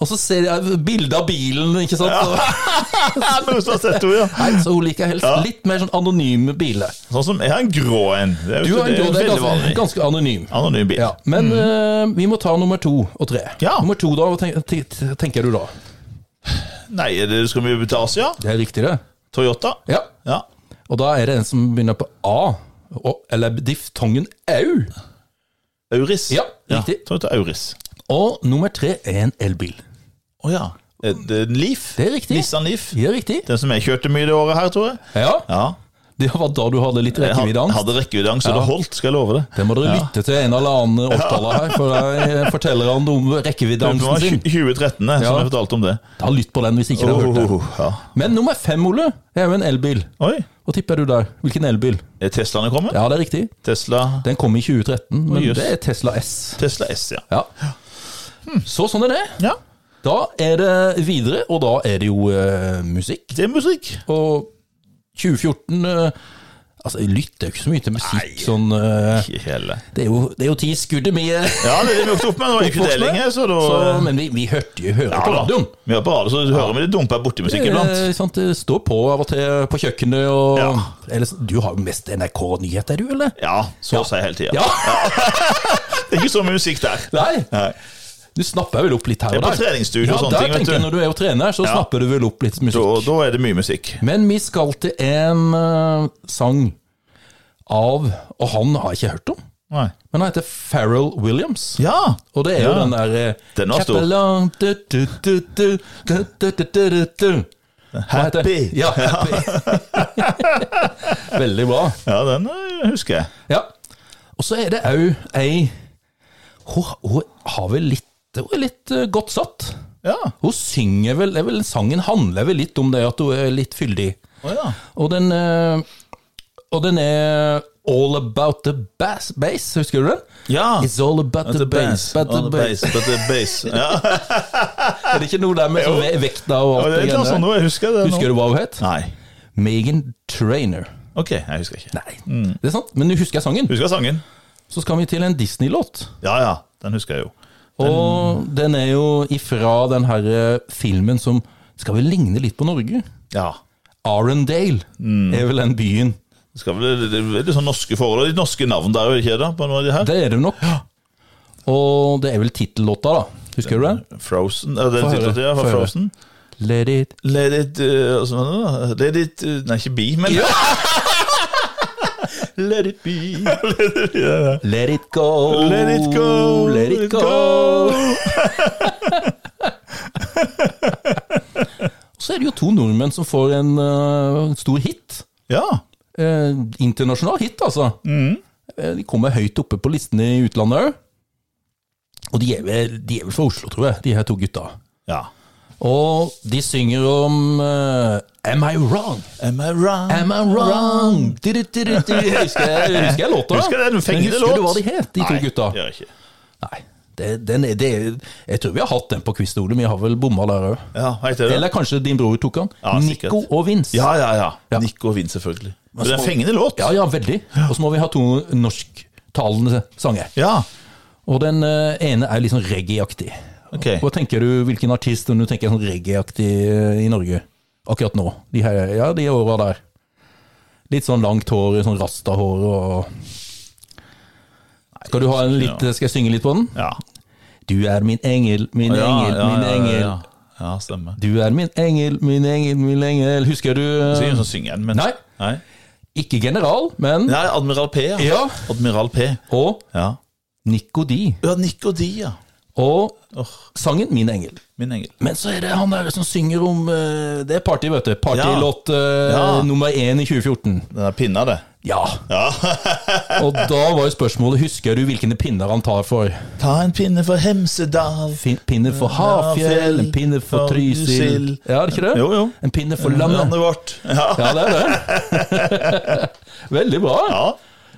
Speaker 1: Og så ser jeg bilde av bilen, ikke sant. Og,
Speaker 2: Noen som har sett henne, ja.
Speaker 1: nei, så hun liker helst
Speaker 2: Ja.
Speaker 1: litt mer sånn anonyme biler.
Speaker 2: Sånn som Jeg har en grå en. Det er
Speaker 1: Du
Speaker 2: jo
Speaker 1: har en
Speaker 2: ikke-
Speaker 1: grå,
Speaker 2: det
Speaker 1: det er
Speaker 2: er veldig
Speaker 1: ganske,
Speaker 2: vanlig.
Speaker 1: ganske anonym.
Speaker 2: Anonym bil.
Speaker 1: Ja, men eh, vi må ta nummer to og tre.
Speaker 2: Ja.
Speaker 1: Nummer to, da, hva ten- te- te- tenker du da?
Speaker 2: Nei, er det, skal vi til Asia?
Speaker 1: Det er riktig, det.
Speaker 2: Toyota?
Speaker 1: Ja.
Speaker 2: Ja.
Speaker 1: Og da er det en som begynner på A, og, eller diftongen au.
Speaker 2: Auris?
Speaker 1: Ja, riktig.
Speaker 2: Toyota Auris.
Speaker 1: Og nummer tre er en elbil.
Speaker 2: Å ja. Et, et Leaf.
Speaker 1: Det er riktig.
Speaker 2: Nissan Leaf.
Speaker 1: Det er riktig.
Speaker 2: Den som jeg kjørte mye det året her, tror jeg.
Speaker 1: Ja,
Speaker 2: Ja.
Speaker 1: det var da du hadde litt
Speaker 2: Jeg had-
Speaker 1: rekkeviddeangst.
Speaker 2: hadde rekkeviddeangst, så det holdt, skal jeg love det.
Speaker 1: Det må dere lytte til en eller annen årstaller her, for der forteller han om
Speaker 2: Det var
Speaker 1: rekkeviddeangsten sin.
Speaker 2: 2013, eh, som
Speaker 1: Ja.
Speaker 2: jeg fortalte om det.
Speaker 1: Ta lytt på den hvis ikke dere har hørt den.
Speaker 2: Oh, ja.
Speaker 1: Men nummer fem, Ole, er jo en elbil.
Speaker 2: Oi,
Speaker 1: Hva tipper du der? Hvilken elbil?
Speaker 2: er Teslaene kommet?
Speaker 1: Ja, det er riktig.
Speaker 2: Tesla,
Speaker 1: Den kom i 2013, men
Speaker 2: jøss.
Speaker 1: det er Tesla S.
Speaker 2: Tesla S, ja. Hm.
Speaker 1: Ja. Så sånn er det.
Speaker 2: ja.
Speaker 1: Da er det videre, og da er det jo eh, musikk.
Speaker 2: Det er musikk.
Speaker 1: Og 2014 eh, Altså, jeg lytter jo ikke så mye til musikk sånn eh,
Speaker 2: Ikke hele.
Speaker 1: Det er jo, det er jo ti skudd vi eh,
Speaker 2: Ja, det er det vi vokste opp med. Det var jo ikke
Speaker 1: Oppvokst med.
Speaker 2: deling her, så da
Speaker 1: så, Men vi, vi hørte jo hører
Speaker 2: Ja,
Speaker 1: på
Speaker 2: da.
Speaker 1: radioen.
Speaker 2: Vi hører på radio, så hører vi det dumper bortemusikk iblant.
Speaker 1: Eh, sant, det står på av og til på kjøkkenet og
Speaker 2: Ja.
Speaker 1: Ellers, Du har jo mest NRK-nyheter, du, eller?
Speaker 2: Ja, så å si hele tida.
Speaker 1: Ja!
Speaker 2: Det er ikke så mye musikk der.
Speaker 1: Nei,
Speaker 2: Nei.
Speaker 1: du snapper vel opp litt her
Speaker 2: Det er
Speaker 1: og
Speaker 2: på
Speaker 1: der.
Speaker 2: treningsstudio
Speaker 1: ja,
Speaker 2: og sånne
Speaker 1: der
Speaker 2: ting, vet
Speaker 1: tenker jeg
Speaker 2: du.
Speaker 1: Når du er jo trener, så snapper du vel opp litt musikk.
Speaker 2: Da, da er det mye musikk.
Speaker 1: Men vi skal til en eh, sang av Og han har jeg ikke hørt om.
Speaker 2: Nei.
Speaker 1: Men han heter Farrell Williams.
Speaker 2: Ja!
Speaker 1: Og det er jo
Speaker 2: Ja.
Speaker 1: den der eh,
Speaker 2: Den var stor.
Speaker 1: Clap along, du, du, du, du, du, du, du, du, du, du. Hva heter den?
Speaker 2: Happy.
Speaker 1: Ja, happy. Veldig bra.
Speaker 2: Ja, den eh, husker jeg.
Speaker 1: Ja. Og så er det òg ei Hun, hun har vel litt Hun er litt eh, godt satt.
Speaker 2: Ja.
Speaker 1: Hun synger vel, det er vel Sangen handler vel litt om det at hun er litt fyldig.
Speaker 2: Å ja.
Speaker 1: Og den, eh, og den er All About The Bass, bass husker du den?
Speaker 2: Ja.
Speaker 1: It's all about the, bass, but the
Speaker 2: On the
Speaker 1: bass.
Speaker 2: bass, but the bass. Ja,
Speaker 1: Er det ikke noe der med sånn ve- vekta og
Speaker 2: og
Speaker 1: alt
Speaker 2: det
Speaker 1: det
Speaker 2: er et eller annet sånt
Speaker 1: greiene?
Speaker 2: noe, jeg husker det nå.
Speaker 1: Husker du hva hun het?
Speaker 2: Nei.
Speaker 1: Megan Trainer.
Speaker 2: Ok, jeg husker ikke.
Speaker 1: Nei,
Speaker 2: Mm.
Speaker 1: det er sant, men du husker sangen.
Speaker 2: Husker sangen?
Speaker 1: Så skal vi til en Disney-låt.
Speaker 2: Ja, ja, den husker jeg jo.
Speaker 1: Og den er jo ifra den her eh, filmen som skal vel ligne litt på Norge.
Speaker 2: Ja.
Speaker 1: Arendale
Speaker 2: Mm.
Speaker 1: er vel den byen.
Speaker 2: Det, skal vel, det, det er litt sånn norske forhold, litt norske navn der, er det ikke det? På noe av de her?
Speaker 1: Det er det nok. Og det er vel tittellåta, da. Husker du den?
Speaker 2: Frozen, er det
Speaker 1: Få høre,
Speaker 2: titlet ja,
Speaker 1: få
Speaker 2: fra
Speaker 1: høre.
Speaker 2: Frozen?
Speaker 1: Let it
Speaker 2: Let it, uh, og sånn, uh, let it uh, Nei, ikke be, men
Speaker 1: Ja.
Speaker 2: Let it be. let, it, ja, ja.
Speaker 1: Let it go.
Speaker 2: Let it go,
Speaker 1: Let it
Speaker 2: let it
Speaker 1: go. Så er det jo to nordmenn som får en eh, stor hit.
Speaker 2: ja.
Speaker 1: Eh, internasjonal hit, altså.
Speaker 2: Mm.
Speaker 1: Eh, de kommer høyt oppe på listene i utlandet òg. Og de er, vel, de er vel fra Oslo, tror jeg, de her to gutta.
Speaker 2: ja.
Speaker 1: Og de synger om eh, Am I wrong?
Speaker 2: Am I wrong?
Speaker 1: Am I wrong? Du, du, du, du, du. Husker jeg, husker jeg låta? da?
Speaker 2: Husker jeg den
Speaker 1: Men
Speaker 2: fengende
Speaker 1: Husker
Speaker 2: låt?
Speaker 1: du hva de het, de to
Speaker 2: Nei,
Speaker 1: gutta?
Speaker 2: gjør jeg ikke.
Speaker 1: Nei. Det, den er, det, er- jeg tror vi har hatt den på quiz-stolen, vi har vel bomma der òg.
Speaker 2: Ja, heter det?
Speaker 1: Eller kanskje din bror tok den?
Speaker 2: Ja, sikkert.
Speaker 1: Nico og Vince.
Speaker 2: Ja, ja, ja.
Speaker 1: Ja.
Speaker 2: Nico og Vin, selvfølgelig. Men det er
Speaker 1: så-
Speaker 2: en fengende låt.
Speaker 1: ja, ja, veldig. Og så må vi ha to norsktalende sanger.
Speaker 2: Ja,
Speaker 1: Og den eh, ene er litt sånn reggae-aktig.
Speaker 2: ok.
Speaker 1: Hva tenker du, hvilken artist om du tenker sånn reggae-aktig eh, i Norge akkurat nå? De her, ja, de åra der. Litt sånn langt hår, sånn rastahår og Skal du ha en litt, skal jeg synge litt på den?
Speaker 2: Ja.
Speaker 1: Du er min engel, min
Speaker 2: Ja,
Speaker 1: engel,
Speaker 2: ja,
Speaker 1: min
Speaker 2: ja,
Speaker 1: engel.
Speaker 2: Ja, ja. ja stemmer.
Speaker 1: Du er min engel, min engel, min engel. Husker du
Speaker 2: Det er
Speaker 1: eh,
Speaker 2: ingen som synger den, men
Speaker 1: Nei.
Speaker 2: Nei.
Speaker 1: Ikke general, men
Speaker 2: Nei, Admiral P, ja.
Speaker 1: Ja.
Speaker 2: Admiral P.
Speaker 1: Og
Speaker 2: Ja.
Speaker 1: Nico D.
Speaker 2: Ja, Nico D, ja.
Speaker 1: Og
Speaker 2: Åh,
Speaker 1: sangen Min engel.
Speaker 2: min engel.
Speaker 1: Men så er det han der som synger om eh, Det er party, vet du. Partylåt eh,
Speaker 2: Ja.
Speaker 1: nummer én i 2014.
Speaker 2: Den der pinna, det.
Speaker 1: Ja. Og da var jo spørsmålet Husker du hvilke pinner han tar for?
Speaker 2: Ta en pinne for Hemsedal.
Speaker 1: Fin- Pinne for Hafjell, en pinne for
Speaker 2: For
Speaker 1: Trysil
Speaker 2: Trysil.
Speaker 1: Ja, er det ikke det?
Speaker 2: Jo, jo.
Speaker 1: En pinne for landet.
Speaker 2: Landet vårt. Ja.
Speaker 1: Ja, det er det. Veldig bra.
Speaker 2: Ja.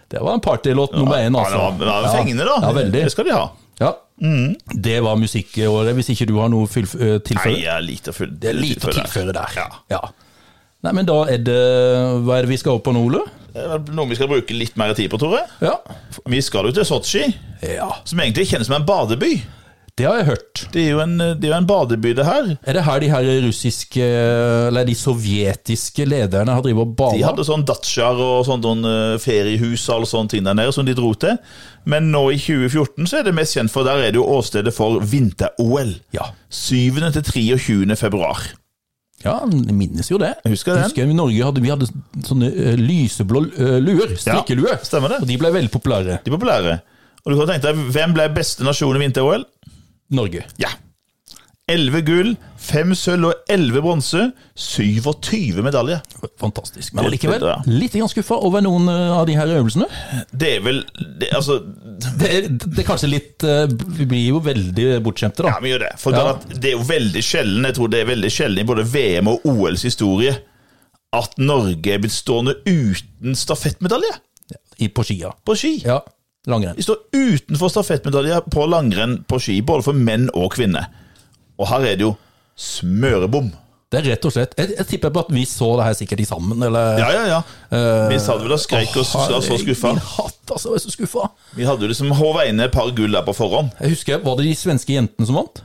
Speaker 1: Det var en partylåt nummer én,
Speaker 2: Ja, det var, det
Speaker 1: altså.
Speaker 2: var fengende, da. Mm.
Speaker 1: Ja, veldig.
Speaker 2: Det skal de ha.
Speaker 1: Ja. Det var musikkåret, hvis ikke du har noe fylf- eh,
Speaker 2: Nei,
Speaker 1: tilfelle.
Speaker 2: jeg er lite full.
Speaker 1: Det er lite å tilføre der.
Speaker 2: Ja.
Speaker 1: Nei, men da er det Hva er det vi skal opp på nå, Ole?
Speaker 2: Det er vel Noe vi skal bruke litt mer tid på, Tore.
Speaker 1: Ja.
Speaker 2: Vi skal jo til Sotsji,
Speaker 1: ja.
Speaker 2: som egentlig kjennes som en badeby.
Speaker 1: Det har jeg hørt.
Speaker 2: Det er jo en, det er jo en badeby, det her.
Speaker 1: Er det her de her russiske, eller de sovjetiske lederne har drevet og
Speaker 2: De
Speaker 1: bala?
Speaker 2: hadde sånn datsjaer og sånn noen eh, feriehus og alle sånne ting der nede som de dro til. Men nå i 2014 så er det mest kjent for der er det jo åstedet for vinter-OL.
Speaker 1: Ja.
Speaker 2: 7. til 23. februar.
Speaker 1: ja, jeg minnes jo det.
Speaker 2: Husker
Speaker 1: Jeg
Speaker 2: den?
Speaker 1: husker i Norge hadde vi hadde sånne eh, lyseblå eh, luer, strikkelue.
Speaker 2: Stemmer det?
Speaker 1: Og de ble veldig populære.
Speaker 2: De er populære. Og du kan tenke deg, hvem ble beste nasjon i vinter-OL?
Speaker 1: Norge.
Speaker 2: Ja. 11 gull, 5 sølv og 11 bronse. 27 medaljer.
Speaker 1: Fantastisk. Men
Speaker 2: Litt,
Speaker 1: likevel,
Speaker 2: ja.
Speaker 1: litt grann skuffa over noen eh, av de her øvelsene.
Speaker 2: Det er vel det, Altså,
Speaker 1: Det er, det er kanskje litt eh, Vi blir jo veldig bortskjemte, da.
Speaker 2: ja, vi gjør det. For
Speaker 1: Ja.
Speaker 2: det, at det er jo veldig sjelden, jeg tror det er veldig sjelden i både VM og OLs historie, at Norge er blitt stående uten stafettmedalje
Speaker 1: I, på skia.
Speaker 2: på ski.
Speaker 1: Ja, langrenn.
Speaker 2: Vi står utenfor stafettmedalje på langrenn på ski, både for menn og kvinner. Og her er det jo smørebom.
Speaker 1: Det er rett og slett Jeg, jeg tipper på at vi så det her sikkert i sammen, eller
Speaker 2: Ja, ja, ja. Vi satt vel og skrek og var så skuffa.
Speaker 1: Min hatt, altså, jeg er så skuffa.
Speaker 2: Vi hadde jo liksom håva inn et par gull der på forhånd.
Speaker 1: Jeg husker, var det de svenske jentene som vant?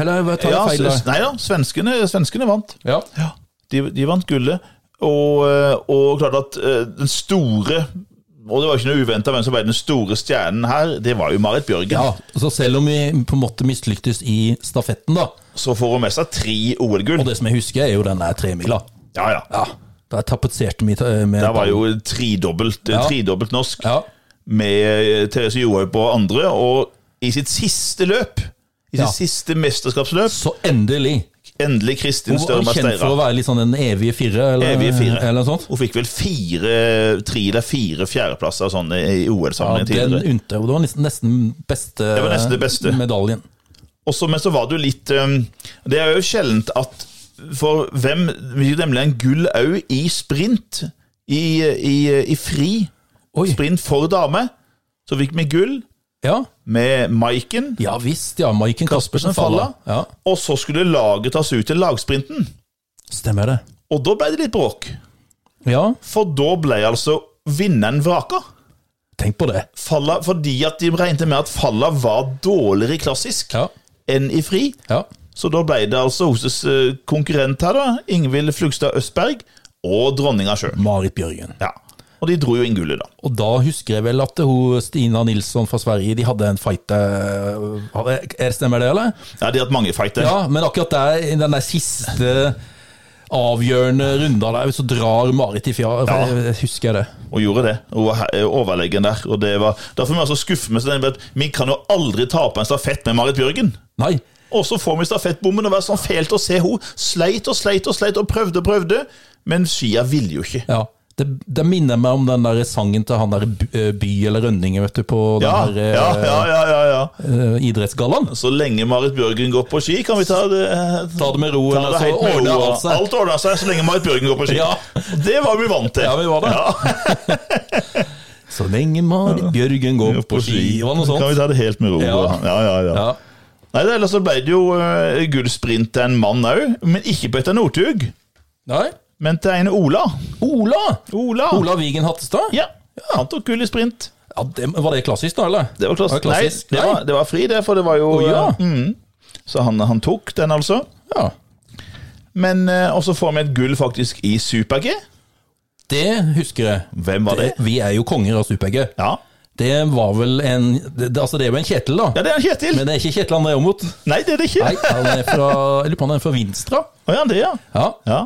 Speaker 1: Eller jeg tar jeg
Speaker 2: Ja,
Speaker 1: feil?
Speaker 2: s-
Speaker 1: der?
Speaker 2: nei da, svenskene, svenskene vant.
Speaker 1: Ja.
Speaker 2: De, de vant gullet. Og, eh, og klart at eh, den store Og det var ikke noe uventa hvem som ble den store stjernen her. Det var jo Marit Bjørgen.
Speaker 1: ja. Så selv om vi på en måte mislyktes i stafetten, da,
Speaker 2: Så får hun med seg tre OL-gull.
Speaker 1: og det som jeg husker, er jo den der tremila.
Speaker 2: Ja, ja.
Speaker 1: Ja. Der tapetserte vi ta- med
Speaker 2: Det var jo tredobbelt,
Speaker 1: Ja.
Speaker 2: tredobbelt norsk.
Speaker 1: Ja.
Speaker 2: med eh, Therese Johaug på andre. Og i sitt siste løp, i
Speaker 1: Ja.
Speaker 2: sitt siste mesterskapsløp,
Speaker 1: Så endelig!
Speaker 2: endelig Kristin
Speaker 1: Hun var
Speaker 2: Størma
Speaker 1: kjent for å
Speaker 2: Steira.
Speaker 1: være litt sånn den evige fire, eller,
Speaker 2: Evige fire.
Speaker 1: eller noe sånt.
Speaker 2: Hun fikk vel fire, tre eller fire fjerdeplasser sånn i
Speaker 1: Ja,
Speaker 2: OL-sammenheng
Speaker 1: den
Speaker 2: tidligere.
Speaker 1: unte, og det var nesten- nesten beste,
Speaker 2: Det var nesten det beste.
Speaker 1: medaljen.
Speaker 2: Og så- men så var det jo litt um, Det er jo sjeldent at For hvem vil nemlig en gull òg i sprint? I, i, i fri
Speaker 1: Oi.
Speaker 2: sprint for dame. Så fikk vi gull
Speaker 1: Ja,
Speaker 2: med Maiken.
Speaker 1: ja visst, ja. Maiken Caspersen falla.
Speaker 2: Falla.
Speaker 1: Ja,
Speaker 2: Og så skulle laget tas ut til lagsprinten.
Speaker 1: stemmer det.
Speaker 2: Og da ble det litt bråk.
Speaker 1: Ja,
Speaker 2: For da ble altså vinneren vraka.
Speaker 1: tenk på det.
Speaker 2: Falla, fordi at de regnet med at Falla var dårligere i klassisk
Speaker 1: Ja,
Speaker 2: enn i fri.
Speaker 1: ja.
Speaker 2: Så da ble det altså Hoses eh, konkurrent her, da. Ingvild Flugstad Østberg og dronninga sjøl.
Speaker 1: Marit Bjørgen.
Speaker 2: Ja. Og de dro jo inn gullet, da.
Speaker 1: Og da husker jeg vel at hun, Stina Nilsson fra Sverige, de hadde en fight eh, hadde- er- Stemmer det, eller?
Speaker 2: Ja, de har hatt mange fighter.
Speaker 1: Ja, men akkurat der, i den der siste avgjørende runda der, så drar Marit i fjær.
Speaker 2: Ja.
Speaker 1: Husker jeg det.
Speaker 2: Og gjorde det. Hun var he- overlegen der. Og det var Derfor er vi altså skuffet med sånn at vi kan jo aldri tape en stafett med Marit Bjørgen.
Speaker 1: Nei.
Speaker 2: Og så får vi stafettbommen og være sånn fælt å se hun sleit og sleit og sleit og prøvde og prøvde. Men skia ville jo ikke.
Speaker 1: Ja. Det, det minner meg om den der sangen til han der By eh, By eller Rønningen, vet du, på den
Speaker 2: Ja,
Speaker 1: her eh,
Speaker 2: ja, ja, ja, ja, ja.
Speaker 1: eh, idrettsgallaen.
Speaker 2: Så lenge Marit Bjørgen går på ski, kan vi ta det
Speaker 1: Ta det med ro,
Speaker 2: Ta
Speaker 1: eller
Speaker 2: det
Speaker 1: så
Speaker 2: helt med
Speaker 1: altså, ordner
Speaker 2: ro.
Speaker 1: alt seg.
Speaker 2: Alt ordner seg så lenge Marit Bjørgen går på ski.
Speaker 1: Ja.
Speaker 2: Det var vi vant til.
Speaker 1: Ja, vi var det.
Speaker 2: Ja,
Speaker 1: Så lenge Marit Bjørgen går på ski, og noe
Speaker 2: Kan
Speaker 1: sånt.
Speaker 2: vi ta det helt med ro?
Speaker 1: Ja.
Speaker 2: Ja, ja, ja.
Speaker 1: Ja.
Speaker 2: Nei, det- Ellers så ble det jo eh, gullsprint til en mann òg, men ikke på etter Northug.
Speaker 1: Nei.
Speaker 2: Men til en Ola.
Speaker 1: Ola!
Speaker 2: Ola.
Speaker 1: Ola Vigen Hattestad?
Speaker 2: Ja, Han tok gull i sprint.
Speaker 1: Ja, det, var det klassisk, da, eller?
Speaker 2: Det var klassisk.
Speaker 1: Var det klassisk?
Speaker 2: Nei, det var, det var fri, det, for det var jo
Speaker 1: Å, ja.
Speaker 2: mm. Så han, han tok den, altså.
Speaker 1: Ja.
Speaker 2: Men eh, også får vi et gull faktisk i super-G.
Speaker 1: Det husker jeg.
Speaker 2: Hvem var det?
Speaker 1: Vi er jo konger av super-G.
Speaker 2: Ja.
Speaker 1: Det var vel en det, det- Altså, det er jo en Kjetil, da.
Speaker 2: ja, det er han Kjetil.
Speaker 1: Men det er ikke Kjetil André Aamodt.
Speaker 2: Nei, det er det ikke.
Speaker 1: Nei, han er fra Jeg lurer på om han er fra Vinstra.
Speaker 2: Å, ja, det, ja.
Speaker 1: Ja.
Speaker 2: ja.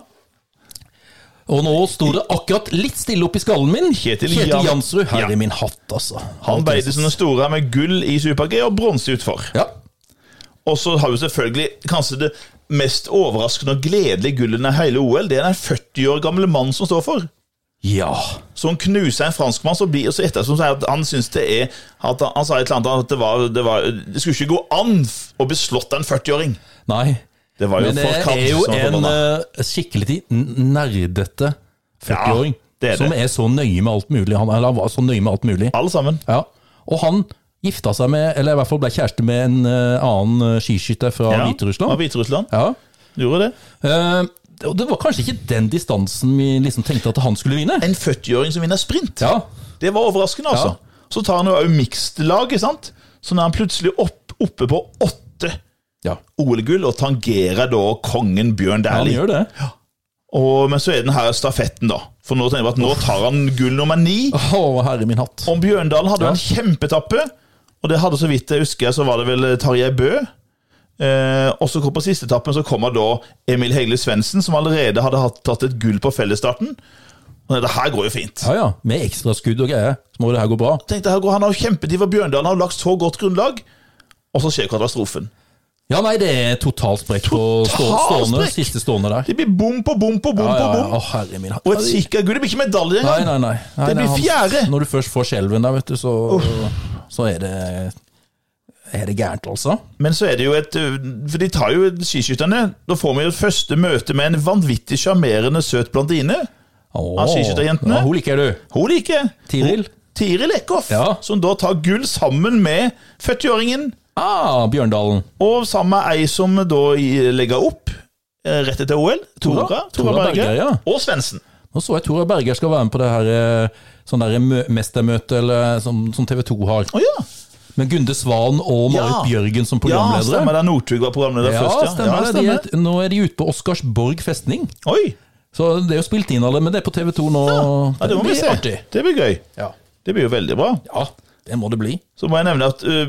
Speaker 1: Og nå sto det akkurat litt stille opp i skallen min.
Speaker 2: Kjetil Jan-
Speaker 1: Jansrud. Her
Speaker 2: Ja.
Speaker 1: er min hatt, altså.
Speaker 2: Han Beidesen den store med gull i super-G og bronse utfor.
Speaker 1: Ja.
Speaker 2: Og så har vi selvfølgelig kanskje det mest overraskende og gledelige gullet i hele OL. Det er den 40 år gamle mannen som står for.
Speaker 1: Ja.
Speaker 2: Så han knuser en franskmann, så blir og så ettersom sier at han syns det er at han, han sa et eller annet at det var, det var Det skulle ikke gå an f- å bli slått av en 40-åring.
Speaker 1: Nei.
Speaker 2: Det var jo
Speaker 1: Men det
Speaker 2: forkant
Speaker 1: er jo
Speaker 2: som var
Speaker 1: en
Speaker 2: sånn forbanna.
Speaker 1: eh, skikkelig n- nerdete 40-åring.
Speaker 2: Ja, det er det.
Speaker 1: Som er så nøye med alt mulig. Han, eller han var så nøye med alt mulig.
Speaker 2: Alle sammen.
Speaker 1: Ja, og han gifta seg med, eller i hvert fall ble kjæreste med en eh, annen eh, skiskytter fra
Speaker 2: Ja, Av
Speaker 1: Hviterussland.
Speaker 2: Hviterussland.
Speaker 1: Ja.
Speaker 2: Gjorde det.
Speaker 1: Eh, og det var kanskje ikke den distansen vi liksom tenkte at han skulle vinne.
Speaker 2: En 40-åring som vinner sprint.
Speaker 1: Ja,
Speaker 2: Det var overraskende, altså. Så tar han jo òg mixed-lag, ikke sant. Så nå er han plutselig opp, oppe på åtte
Speaker 1: ja
Speaker 2: OL-gull og tangerer da kongen Bjørn
Speaker 1: han
Speaker 2: Dæhlie.
Speaker 1: gjør det.
Speaker 2: Og- Men så er den her stafetten, da. For nå tenker jeg at nå tar han gull nummer ni.
Speaker 1: Å, herre min hatt.
Speaker 2: Om Bjørndalen hadde
Speaker 1: Ja.
Speaker 2: jo en kjempetappe, og det hadde så vidt jeg husker, så var det vel Tarjei Bø. Eh, og så kom på siste etappen så kommer da Emil Hegle Svendsen, som allerede hadde hatt, tatt et gull på fellesstarten. Og det her går jo fint.
Speaker 1: Ja ja, med ekstraskudd og greier, så må det her gå bra.
Speaker 2: Tenkte her går Han har jo kjempetid for Bjørndalen, har jo lagt så godt grunnlag. Og så skjer katastrofen.
Speaker 1: Ja nei, det er totalt sprekk på stå,
Speaker 2: Total
Speaker 1: stående,
Speaker 2: sprekk!
Speaker 1: siste stående der.
Speaker 2: Det blir bom på bom på bom
Speaker 1: Ja, ja,
Speaker 2: på
Speaker 1: ja.
Speaker 2: bom.
Speaker 1: Å, herre min hatt.
Speaker 2: Og et sikkert gull. Det blir ikke medalje
Speaker 1: Nei,
Speaker 2: engang.
Speaker 1: nei, nei. nei
Speaker 2: Det
Speaker 1: nei,
Speaker 2: blir
Speaker 1: han-
Speaker 2: fjerde.
Speaker 1: Når du først får skjelven der, vet du, så, så er det Er det gærent, altså.
Speaker 2: Men så er det jo et eh, For de tar jo skiskytterne. Da får vi jo et første møte med en vanvittig sjarmerende søt blondine.
Speaker 1: Åh.
Speaker 2: skiskytterjentene.
Speaker 1: Ja, hun liker du.
Speaker 2: Hun liker jeg.
Speaker 1: Tiril?
Speaker 2: Tiril Eckhoff,
Speaker 1: Ja.
Speaker 2: som da tar gull sammen med 40-åringen,
Speaker 1: Ah, Bjørndalen.
Speaker 2: og sammen med ei som da i- legger opp eh, rett etter OL. Tora, Tora,
Speaker 1: Tora
Speaker 2: Berger.
Speaker 1: Berger, ja.
Speaker 2: Og Svendsen.
Speaker 1: Nå så jeg Tora Berger skal være med på det her eh, sånn der mø- mestermøte eller, eh, som, som TV 2 har.
Speaker 2: Å ja.
Speaker 1: Med Gunde Svan og Marit
Speaker 2: Ja.
Speaker 1: Bjørgen som
Speaker 2: ja,
Speaker 1: programledere.
Speaker 2: stemmer det. Northug var programleder
Speaker 1: Ja,
Speaker 2: først.
Speaker 1: stemmer det. De er, nå er de ute på Oscarsborg festning.
Speaker 2: Oi!
Speaker 1: Så det er jo spilt inn alle, men det er på TV 2 nå.
Speaker 2: Ja, det må
Speaker 1: blir
Speaker 2: vi se.
Speaker 1: artig.
Speaker 2: Det blir gøy.
Speaker 1: Ja.
Speaker 2: Det blir jo veldig bra.
Speaker 1: ja, det må det bli.
Speaker 2: Så må jeg nevne at eh,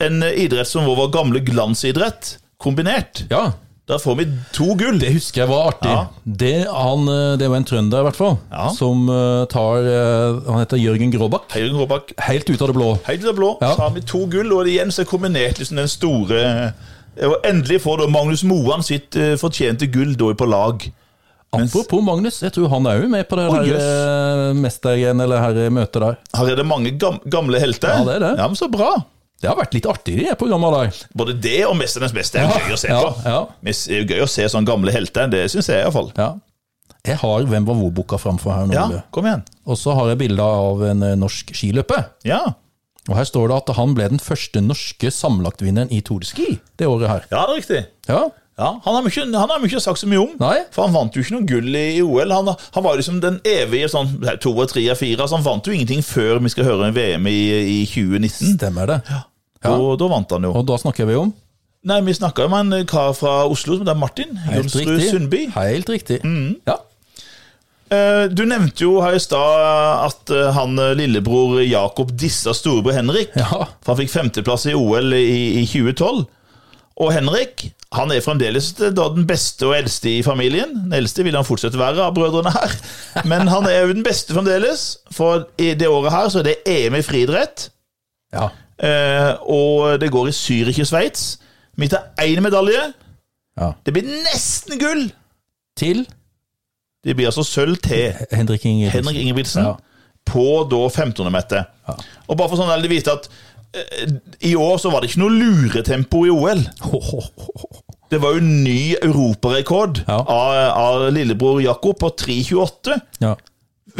Speaker 2: en idrett som vår gamle glansidrett, kombinert,
Speaker 1: Ja.
Speaker 2: Der får vi to gull.
Speaker 1: Det husker jeg var artig.
Speaker 2: Ja.
Speaker 1: Det, han, eh, det var en trønder, i hvert fall,
Speaker 2: Ja.
Speaker 1: som eh, tar eh, Han heter Jørgen Gråbakk.
Speaker 2: Høyre Gråbakk,
Speaker 1: Helt ut av det blå.
Speaker 2: helt til det blå,
Speaker 1: Ja.
Speaker 2: så har vi to gull, og igjen så er kombinert liksom den store eh, Og endelig får da Magnus Moan sitt eh, fortjente gull da på lag. Mens-
Speaker 1: Apropos Magnus, jeg tror han er jo med på det
Speaker 2: Å,
Speaker 1: her eh, mestergjen eller her eh, møtet der.
Speaker 2: Her er det mange gam gamle helter.
Speaker 1: Ja, det er det.
Speaker 2: Ja, men Så bra.
Speaker 1: Det har vært litt artig i det programmet der.
Speaker 2: Både det og Mesternes beste er
Speaker 1: Ja,
Speaker 2: gøy å se
Speaker 1: ja,
Speaker 2: på.
Speaker 1: ja.
Speaker 2: Men Det er jo gøy å se sånne gamle helter. Det syns jeg iallfall.
Speaker 1: Ja. Jeg har Hvem var hvor-boka framfor her nå.
Speaker 2: Ja,
Speaker 1: Ole.
Speaker 2: kom igjen.
Speaker 1: Og så har jeg bilde av en eh, norsk skiløper.
Speaker 2: Ja.
Speaker 1: Og her står det at han ble den første norske sammenlagtvinneren i Tour de Ski det året her.
Speaker 2: ja, det er riktig.
Speaker 1: Ja,
Speaker 2: Ja, Han har vi ikke, han har vi ikke sagt så mye om.
Speaker 1: Nei.
Speaker 2: For han vant jo ikke noe gull i i OL. Han, han var liksom den evige sånn nei, to og tre og fire. Altså, han vant jo ingenting før vi skal høre VM i, i 2019.
Speaker 1: stemmer det. Ja.
Speaker 2: Og da vant han jo.
Speaker 1: Og da snakker vi om
Speaker 2: Nei, vi snakka jo med en kar fra Oslo som heter Martin.
Speaker 1: Helt
Speaker 2: Jonsrud
Speaker 1: riktig.
Speaker 2: Sundby. Mm.
Speaker 1: Helt riktig. Ja.
Speaker 2: Eh, Du nevnte jo her i stad at eh, han eh, lillebror Jakob dissa storebror Henrik.
Speaker 1: Ja.
Speaker 2: For han fikk femteplass i OL i, i 2012. Og Henrik han er fremdeles eh, da den beste og eldste i familien. Den eldste vil han fortsette å være av brødrene her. Men han er jo den beste fremdeles, for i det året her så er det EM i friidrett.
Speaker 1: ja.
Speaker 2: eh, Og det går i Zürich i Sveits. Vi tar én medalje.
Speaker 1: Ja.
Speaker 2: Det blir nesten gull!
Speaker 1: Til
Speaker 2: Det blir altså sølv til.
Speaker 1: Henrik Ingebrigtsen.
Speaker 2: Henrik Ingebrigtsen
Speaker 1: Ja.
Speaker 2: på da 1500-meter.
Speaker 1: Ja.
Speaker 2: Og bare for sånn alle vite at eh, i år så var det ikke noe luretempo i OL.
Speaker 1: Ho, ho, ho, ho.
Speaker 2: Det var jo ny europarekord
Speaker 1: Ja.
Speaker 2: av, av lillebror Jakob på 3,28.
Speaker 1: Ja.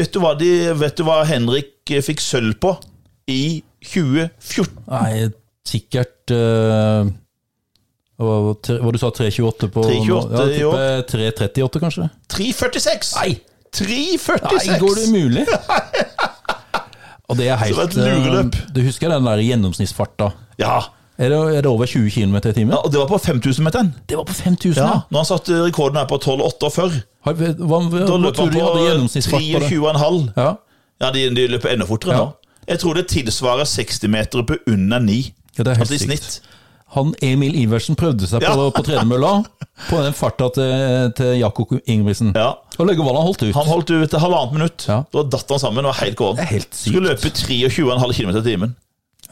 Speaker 2: Vet du hva, de, vet du hva Henrik eh, fikk sølv på i 2014?
Speaker 1: Nei, sikkert eh, hva, hva du sa 3,28 på
Speaker 2: 3,28 i
Speaker 1: ja, tipper 3,38 kanskje?
Speaker 2: 3,46!
Speaker 1: Nei!
Speaker 2: 3,46!
Speaker 1: Nei, går det umulig? Og det er helt
Speaker 2: Så det var et lureløp.
Speaker 1: eh, Du husker den der gjennomsnittsfarta?
Speaker 2: Ja.
Speaker 1: Er det, er det over 20 km i timen?
Speaker 2: ja, og det var på 5000-meteren.
Speaker 1: Det var på 5000,
Speaker 2: Ja,
Speaker 1: ja!
Speaker 2: Når han satte rekorden her på 12,48.
Speaker 1: Har- Hva, hva,
Speaker 2: Da
Speaker 1: hva
Speaker 2: løp
Speaker 1: tror
Speaker 2: han
Speaker 1: du de hadde
Speaker 2: på
Speaker 1: gjennomsnittsfart på det?
Speaker 2: 23,5.
Speaker 1: Ja.
Speaker 2: Ja, de, de løper enda fortere
Speaker 1: Ja.
Speaker 2: nå. Jeg tror det tilsvarer 60 meter på under 9.
Speaker 1: Ja, det er helt
Speaker 2: altså i
Speaker 1: sykt.
Speaker 2: snitt.
Speaker 1: Han Emil Iversen prøvde seg på,
Speaker 2: Ja.
Speaker 1: på tredemølla, på den farta til, til Jakob Ingebrigtsen.
Speaker 2: Ja.
Speaker 1: Og legge hva han holdt ut.
Speaker 2: Han holdt ut til halvannet minutt.
Speaker 1: Ja.
Speaker 2: Da datt han sammen. Det var helt gåen.
Speaker 1: Det er helt sykt.
Speaker 2: Skulle løpe 23,5 km i timen.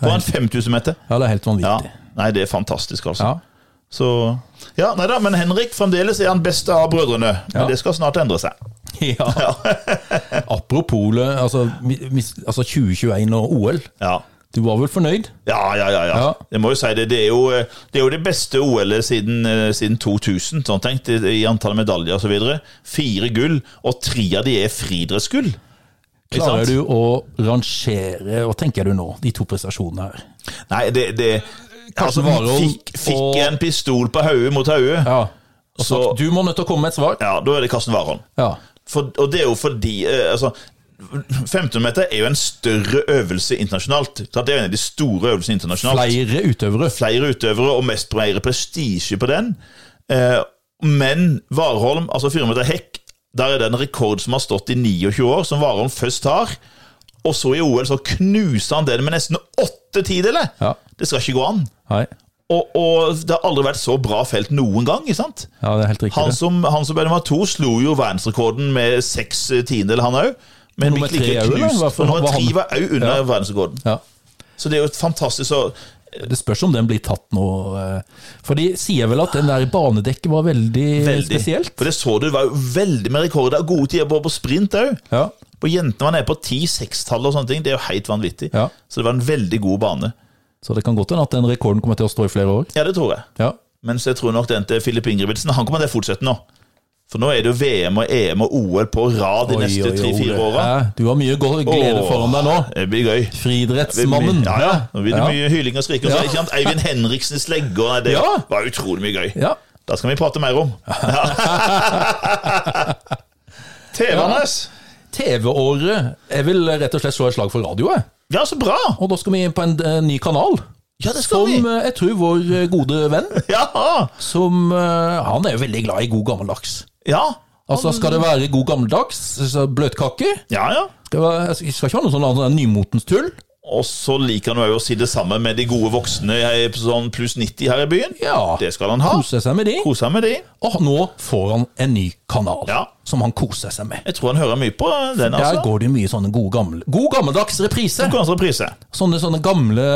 Speaker 2: På en 5000 meter.
Speaker 1: Ja, det er helt
Speaker 2: Ja.
Speaker 1: vanvittig.
Speaker 2: Nei, det er fantastisk, altså.
Speaker 1: Ja.
Speaker 2: Så Ja, nei da, men Henrik fremdeles er han beste av brødrene. Men
Speaker 1: Ja.
Speaker 2: det skal snart endre seg.
Speaker 1: Ja. Apropos le- altså, mi- mis- altså 2021 og OL.
Speaker 2: Ja.
Speaker 1: Du var vel fornøyd?
Speaker 2: Ja, ja, ja. ja.
Speaker 1: Ja.
Speaker 2: Jeg må jo si det. Det er jo eh, det, er jo det beste OL-et siden, eh, siden 2000, sånn tenkt, i i antall medaljer osv. Fire gull, og tre av de er friidrettsgull. Ikke
Speaker 1: Klarer
Speaker 2: sant?
Speaker 1: du å rangere, hva tenker du nå, de to prestasjonene her?
Speaker 2: Nei, det, det Altså,
Speaker 1: Warholm
Speaker 2: fikk, fikk
Speaker 1: og-
Speaker 2: jeg en pistol på hodet mot hodet? Ja.
Speaker 1: Ja. Og
Speaker 2: Så-
Speaker 1: sagt, du må nødt til å komme med et svar.
Speaker 2: da er det Karsten Warholm.
Speaker 1: Ja.
Speaker 2: For- Og det er jo fordi eh, altså, 1500-meter er jo en større øvelse internasjonalt. Så Det er jo en av de store øvelsene internasjonalt.
Speaker 1: Flere utøvere.
Speaker 2: Flere utøvere og mest bredere prestisje på den. Eh, Men Warholm, altså 400 meter hekk, der er det en rekord som har stått i 29 år, som Warholm først har. Og så i OL så knuser han den med nesten åtte tideler!
Speaker 1: Ja.
Speaker 2: Det skal ikke gå an.
Speaker 1: Nei.
Speaker 2: Og, og det har aldri vært så bra felt noen gang. ikke sant?
Speaker 1: Ja, det er helt riktig.
Speaker 2: Han
Speaker 1: det.
Speaker 2: som, han som ble nummer to, slo jo verdensrekorden med seks eh, tiendedel, han òg. Men
Speaker 1: Nummer
Speaker 2: nummer tre,
Speaker 1: tre er jo det,
Speaker 2: knust,
Speaker 1: hva for-
Speaker 2: for nummer
Speaker 1: hva
Speaker 2: tre
Speaker 1: han-
Speaker 2: var òg under
Speaker 1: Ja.
Speaker 2: verdensrekorden.
Speaker 1: Ja.
Speaker 2: Så det er jo et fantastisk så,
Speaker 1: Det spørs om den blir tatt nå. eh, For de sier vel at den der banedekket var veldig,
Speaker 2: veldig
Speaker 1: Eh, spesielt?
Speaker 2: For det så du, det var jo veldig med rekorder. og Gode tider på, på sprint òg.
Speaker 1: Ja.
Speaker 2: På jentene var nede på 10-6-tallet og sånne ting. Det er jo helt vanvittig.
Speaker 1: Ja.
Speaker 2: Så det var en veldig god bane.
Speaker 1: Så det kan godt hende at den rekorden kommer til å stå i flere år.
Speaker 2: Ja, det tror jeg.
Speaker 1: Ja.
Speaker 2: Mens jeg tror nok den til Filip Ingebrigtsen Han kommer til å fortsette nå. For nå er det jo VM og EM og OL på rad de
Speaker 1: Oi,
Speaker 2: neste
Speaker 1: oi, oi,
Speaker 2: tre-fire
Speaker 1: Ole.
Speaker 2: åra.
Speaker 1: Ja, Du har mye go- glede
Speaker 2: Åh.
Speaker 1: foran deg nå.
Speaker 2: Det blir gøy.
Speaker 1: Friidrettsmannen.
Speaker 2: Ja, ja. Nå blir det
Speaker 1: Ja.
Speaker 2: mye hyling og skriking. Og
Speaker 1: Ja.
Speaker 2: så er det ikke sant, Eivind Henriksens legge. og Nei, det
Speaker 1: Ja.
Speaker 2: var utrolig mye gøy.
Speaker 1: Ja.
Speaker 2: Da skal vi prate mer om. Ja. TV-Anders.
Speaker 1: TV-året Jeg vil rett og slett slå et slag for radio, jeg.
Speaker 2: Ja, så bra!
Speaker 1: Og da skal vi inn på en eh, ny kanal.
Speaker 2: Ja, det skal
Speaker 1: Som
Speaker 2: vi.
Speaker 1: eh, jeg tror vår eh, gode venn
Speaker 2: Ja!
Speaker 1: som, eh, Han er jo veldig glad i god gammeldags.
Speaker 2: Ja,
Speaker 1: Altså Skal det være god gammeldags så bløtkake?
Speaker 2: ja. ja.
Speaker 1: Skal, det være, skal ikke være noe sånn annet enn nymotens tull?
Speaker 2: Og så liker han jo å si det samme med de gode voksne her, sånn pluss 90 her i byen.
Speaker 1: Ja.
Speaker 2: Det skal han ha.
Speaker 1: Kose seg med de.
Speaker 2: Kose seg med de.
Speaker 1: Og nå får han en ny kanal
Speaker 2: Ja.
Speaker 1: som han koser seg med.
Speaker 2: Jeg tror han hører mye på den,
Speaker 1: Der
Speaker 2: altså.
Speaker 1: går det mye sånne gode gamle, god gammeldags reprise.
Speaker 2: Konkurranse og reprise.
Speaker 1: Sånne, sånne gamle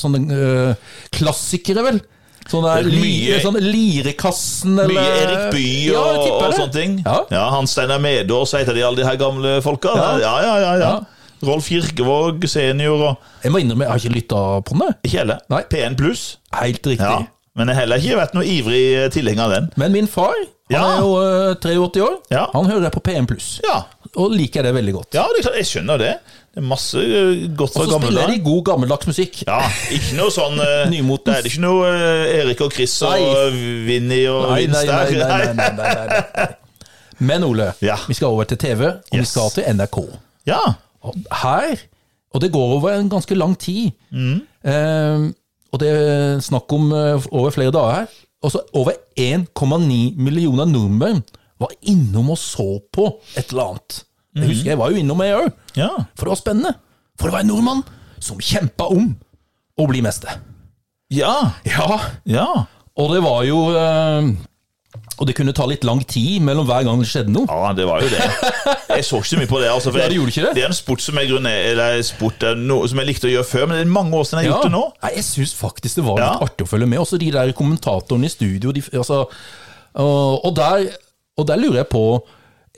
Speaker 1: sånne, øh, klassikere, vel. Sånne
Speaker 2: Det er
Speaker 1: li,
Speaker 2: mye-
Speaker 1: sånn Lirekassen eller
Speaker 2: Mye Erik Bye
Speaker 1: eh, Ja, jeg
Speaker 2: og,
Speaker 1: tipper
Speaker 2: og
Speaker 1: det.
Speaker 2: sånne ting.
Speaker 1: Ja.
Speaker 2: Hans Steinar Medås heter de, alle de her gamle folka. Ja, ja, ja. ja, Rolf Kirkevåg senior og
Speaker 1: Jeg må innrømme, jeg har ikke lytta på den. jeg.
Speaker 2: Ikke alle.
Speaker 1: Nei.
Speaker 2: P1 pluss.
Speaker 1: Helt riktig.
Speaker 2: Ja. Men jeg har heller ikke vært noe ivrig tilhenger av den.
Speaker 1: Men min far, han
Speaker 2: Ja.
Speaker 1: er jo øh, 83 år,
Speaker 2: Ja.
Speaker 1: han hører jeg på P1+,
Speaker 2: Ja,
Speaker 1: og liker det veldig godt.
Speaker 2: ja det er klart, jeg skjønner det. Det er masse eh,
Speaker 1: Og
Speaker 2: godt fra
Speaker 1: så
Speaker 2: gamle
Speaker 1: spiller
Speaker 2: dager.
Speaker 1: de god gammeldags musikk.
Speaker 2: Ja, ikke noe sånn eh,
Speaker 1: Nymotens.
Speaker 2: Det er det ikke noe eh, Erik og Chris og
Speaker 1: Nei.
Speaker 2: Vinni og
Speaker 1: Nei, nei, nei,
Speaker 2: Vince der.
Speaker 1: nei, nei, nei, nei, nei, nei. Men Ole,
Speaker 2: Ja.
Speaker 1: vi skal over til TV, og vi
Speaker 2: Yes.
Speaker 1: skal til NRK.
Speaker 2: Ja.
Speaker 1: Og her, og det går over en ganske lang tid,
Speaker 2: Mm.
Speaker 1: eh, og det er snakk om eh, over flere dager her, og så over 1,9 millioner nordmenn var innom og så på et eller annet. Jeg husker jeg var jo innom jeg òg,
Speaker 2: ja.
Speaker 1: for det var spennende. For det var en nordmann som kjempa om å bli mester.
Speaker 2: Ja.
Speaker 1: Ja,
Speaker 2: Ja.
Speaker 1: Og det var jo eh, Og det kunne ta litt lang tid mellom hver gang det skjedde noe.
Speaker 2: Ja, det var jo det. Jeg så ikke så mye på det. Altså, for
Speaker 1: Ja, du gjorde ikke det?
Speaker 2: det er en sport som jeg, grunner, eller en sport er noe som jeg likte å gjøre før, men det er mange år siden jeg har gjort det nå.
Speaker 1: Nei, jeg syns faktisk det var
Speaker 2: Ja.
Speaker 1: litt artig å følge med. Også de der kommentatorene i studio. De, altså, og, og, der, og der lurer jeg på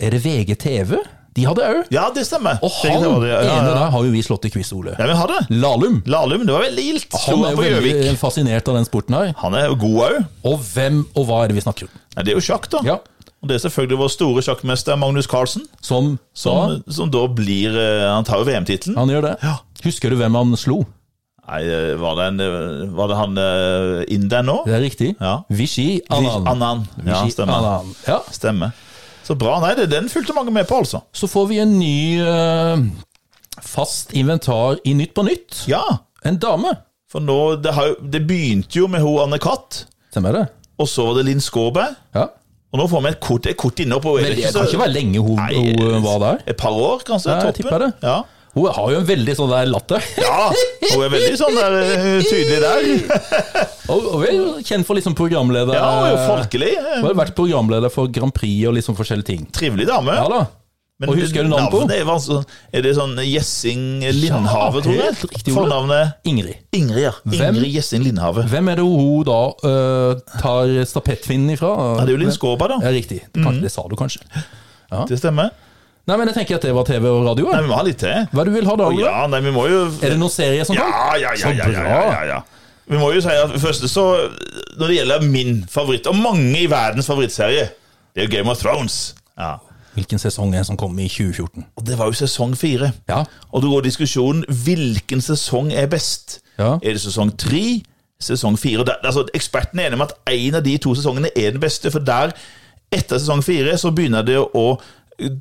Speaker 1: Er det VGTV? De hadde òg.
Speaker 2: Ja, det stemmer.
Speaker 1: Og han
Speaker 2: Det var det, ja, ja,
Speaker 1: ene
Speaker 2: ja.
Speaker 1: der har jo vi slått i quiz, Ole.
Speaker 2: Ja, vi har det.
Speaker 1: Lahlum.
Speaker 2: Lahlum, det var veldig gildt.
Speaker 1: Han er
Speaker 2: på
Speaker 1: jo
Speaker 2: Gjøvik.
Speaker 1: veldig fascinert av den sporten her.
Speaker 2: Han er jo god òg.
Speaker 1: Og hvem og hva er det vi snakker om?
Speaker 2: Ja, det er jo sjakk, da.
Speaker 1: Ja,
Speaker 2: Og det er selvfølgelig vår store sjakkmester Magnus Carlsen,
Speaker 1: Som sa
Speaker 2: som, som da blir eh, Han tar jo VM-tittelen.
Speaker 1: Han gjør det.
Speaker 2: Ja.
Speaker 1: Husker du hvem han slo?
Speaker 2: Nei, eh, var det, en, eh, var det han eh, inderen nå?
Speaker 1: Det er riktig.
Speaker 2: Ja.
Speaker 1: Vichy Anand.
Speaker 2: Annan. Ja,
Speaker 1: Vichy
Speaker 2: stemmer.
Speaker 1: Anand. Ja.
Speaker 2: stemmer. Så bra. Nei, det, den fulgte mange med på, altså.
Speaker 1: Så får vi en ny eh, fast inventar i Nytt på nytt.
Speaker 2: Ja.
Speaker 1: En dame.
Speaker 2: For nå, det, har, jo- det begynte jo med hun Anne Katt,
Speaker 1: Stemmer det?
Speaker 2: og så var det Linn Skåberg.
Speaker 1: Ja.
Speaker 2: Og nå får vi et kort, et kort inne på
Speaker 1: Men det kan ikke være lenge hun,
Speaker 2: Nei,
Speaker 1: hun var der.
Speaker 2: Et par år, kanskje?
Speaker 1: Ja, jeg
Speaker 2: toppen.
Speaker 1: tipper det.
Speaker 2: Ja.
Speaker 1: Hun har jo en veldig sånn der latter.
Speaker 2: ja, hun er veldig sånn der eh, tydelig der.
Speaker 1: Og, og er jo kjent for liksom programleder.
Speaker 2: Ja, hun er jo folkelig. eh,
Speaker 1: Hun har vært programleder for Grand Prix og liksom forskjellige ting.
Speaker 2: Trivelig dame.
Speaker 1: Ja da.
Speaker 2: Men
Speaker 1: og husker du navnet på?
Speaker 2: navnet Er, vanskelig- er det sånn Gjessing
Speaker 1: Ja,
Speaker 2: Lindhave, tror
Speaker 1: helt
Speaker 2: jeg?
Speaker 1: riktig ord.
Speaker 2: Fornavnet
Speaker 1: Ingrid.
Speaker 2: Ingrid, ja. Ingrid Gjessing Lindhave.
Speaker 1: Hvem er det hun da eh, tar stapettfinnen ifra?
Speaker 2: Ja, det er jo Linn Skåberg, da.
Speaker 1: Ja, riktig. Det, kan, det sa du kanskje.
Speaker 2: Det stemmer.
Speaker 1: Nei, men jeg tenker at det var TV og radio.
Speaker 2: Nei,
Speaker 1: ja.
Speaker 2: vi må ha litt til.
Speaker 1: Hva du vil ha da? Ole?
Speaker 2: Ja, nei, vi må jo
Speaker 1: Er det noen serie som kan?
Speaker 2: Ja, ja, ja,
Speaker 1: Så
Speaker 2: ja, ja, ja,
Speaker 1: bra.
Speaker 2: ja, ja. Vi må jo si at først så Når det gjelder min favoritt, og mange i verdens favorittserie, det er jo Game of Thrones. Ja.
Speaker 1: Hvilken sesong er det som kom i 2014?
Speaker 2: Og det var jo sesong fire.
Speaker 1: Ja.
Speaker 2: Og da går diskusjonen hvilken sesong er best.
Speaker 1: Ja.
Speaker 2: Er det sesong tre, sesong fire? Og Der, altså, ekspertene er enige om at en av de to sesongene er den beste, for der, etter sesong fire, så begynner det å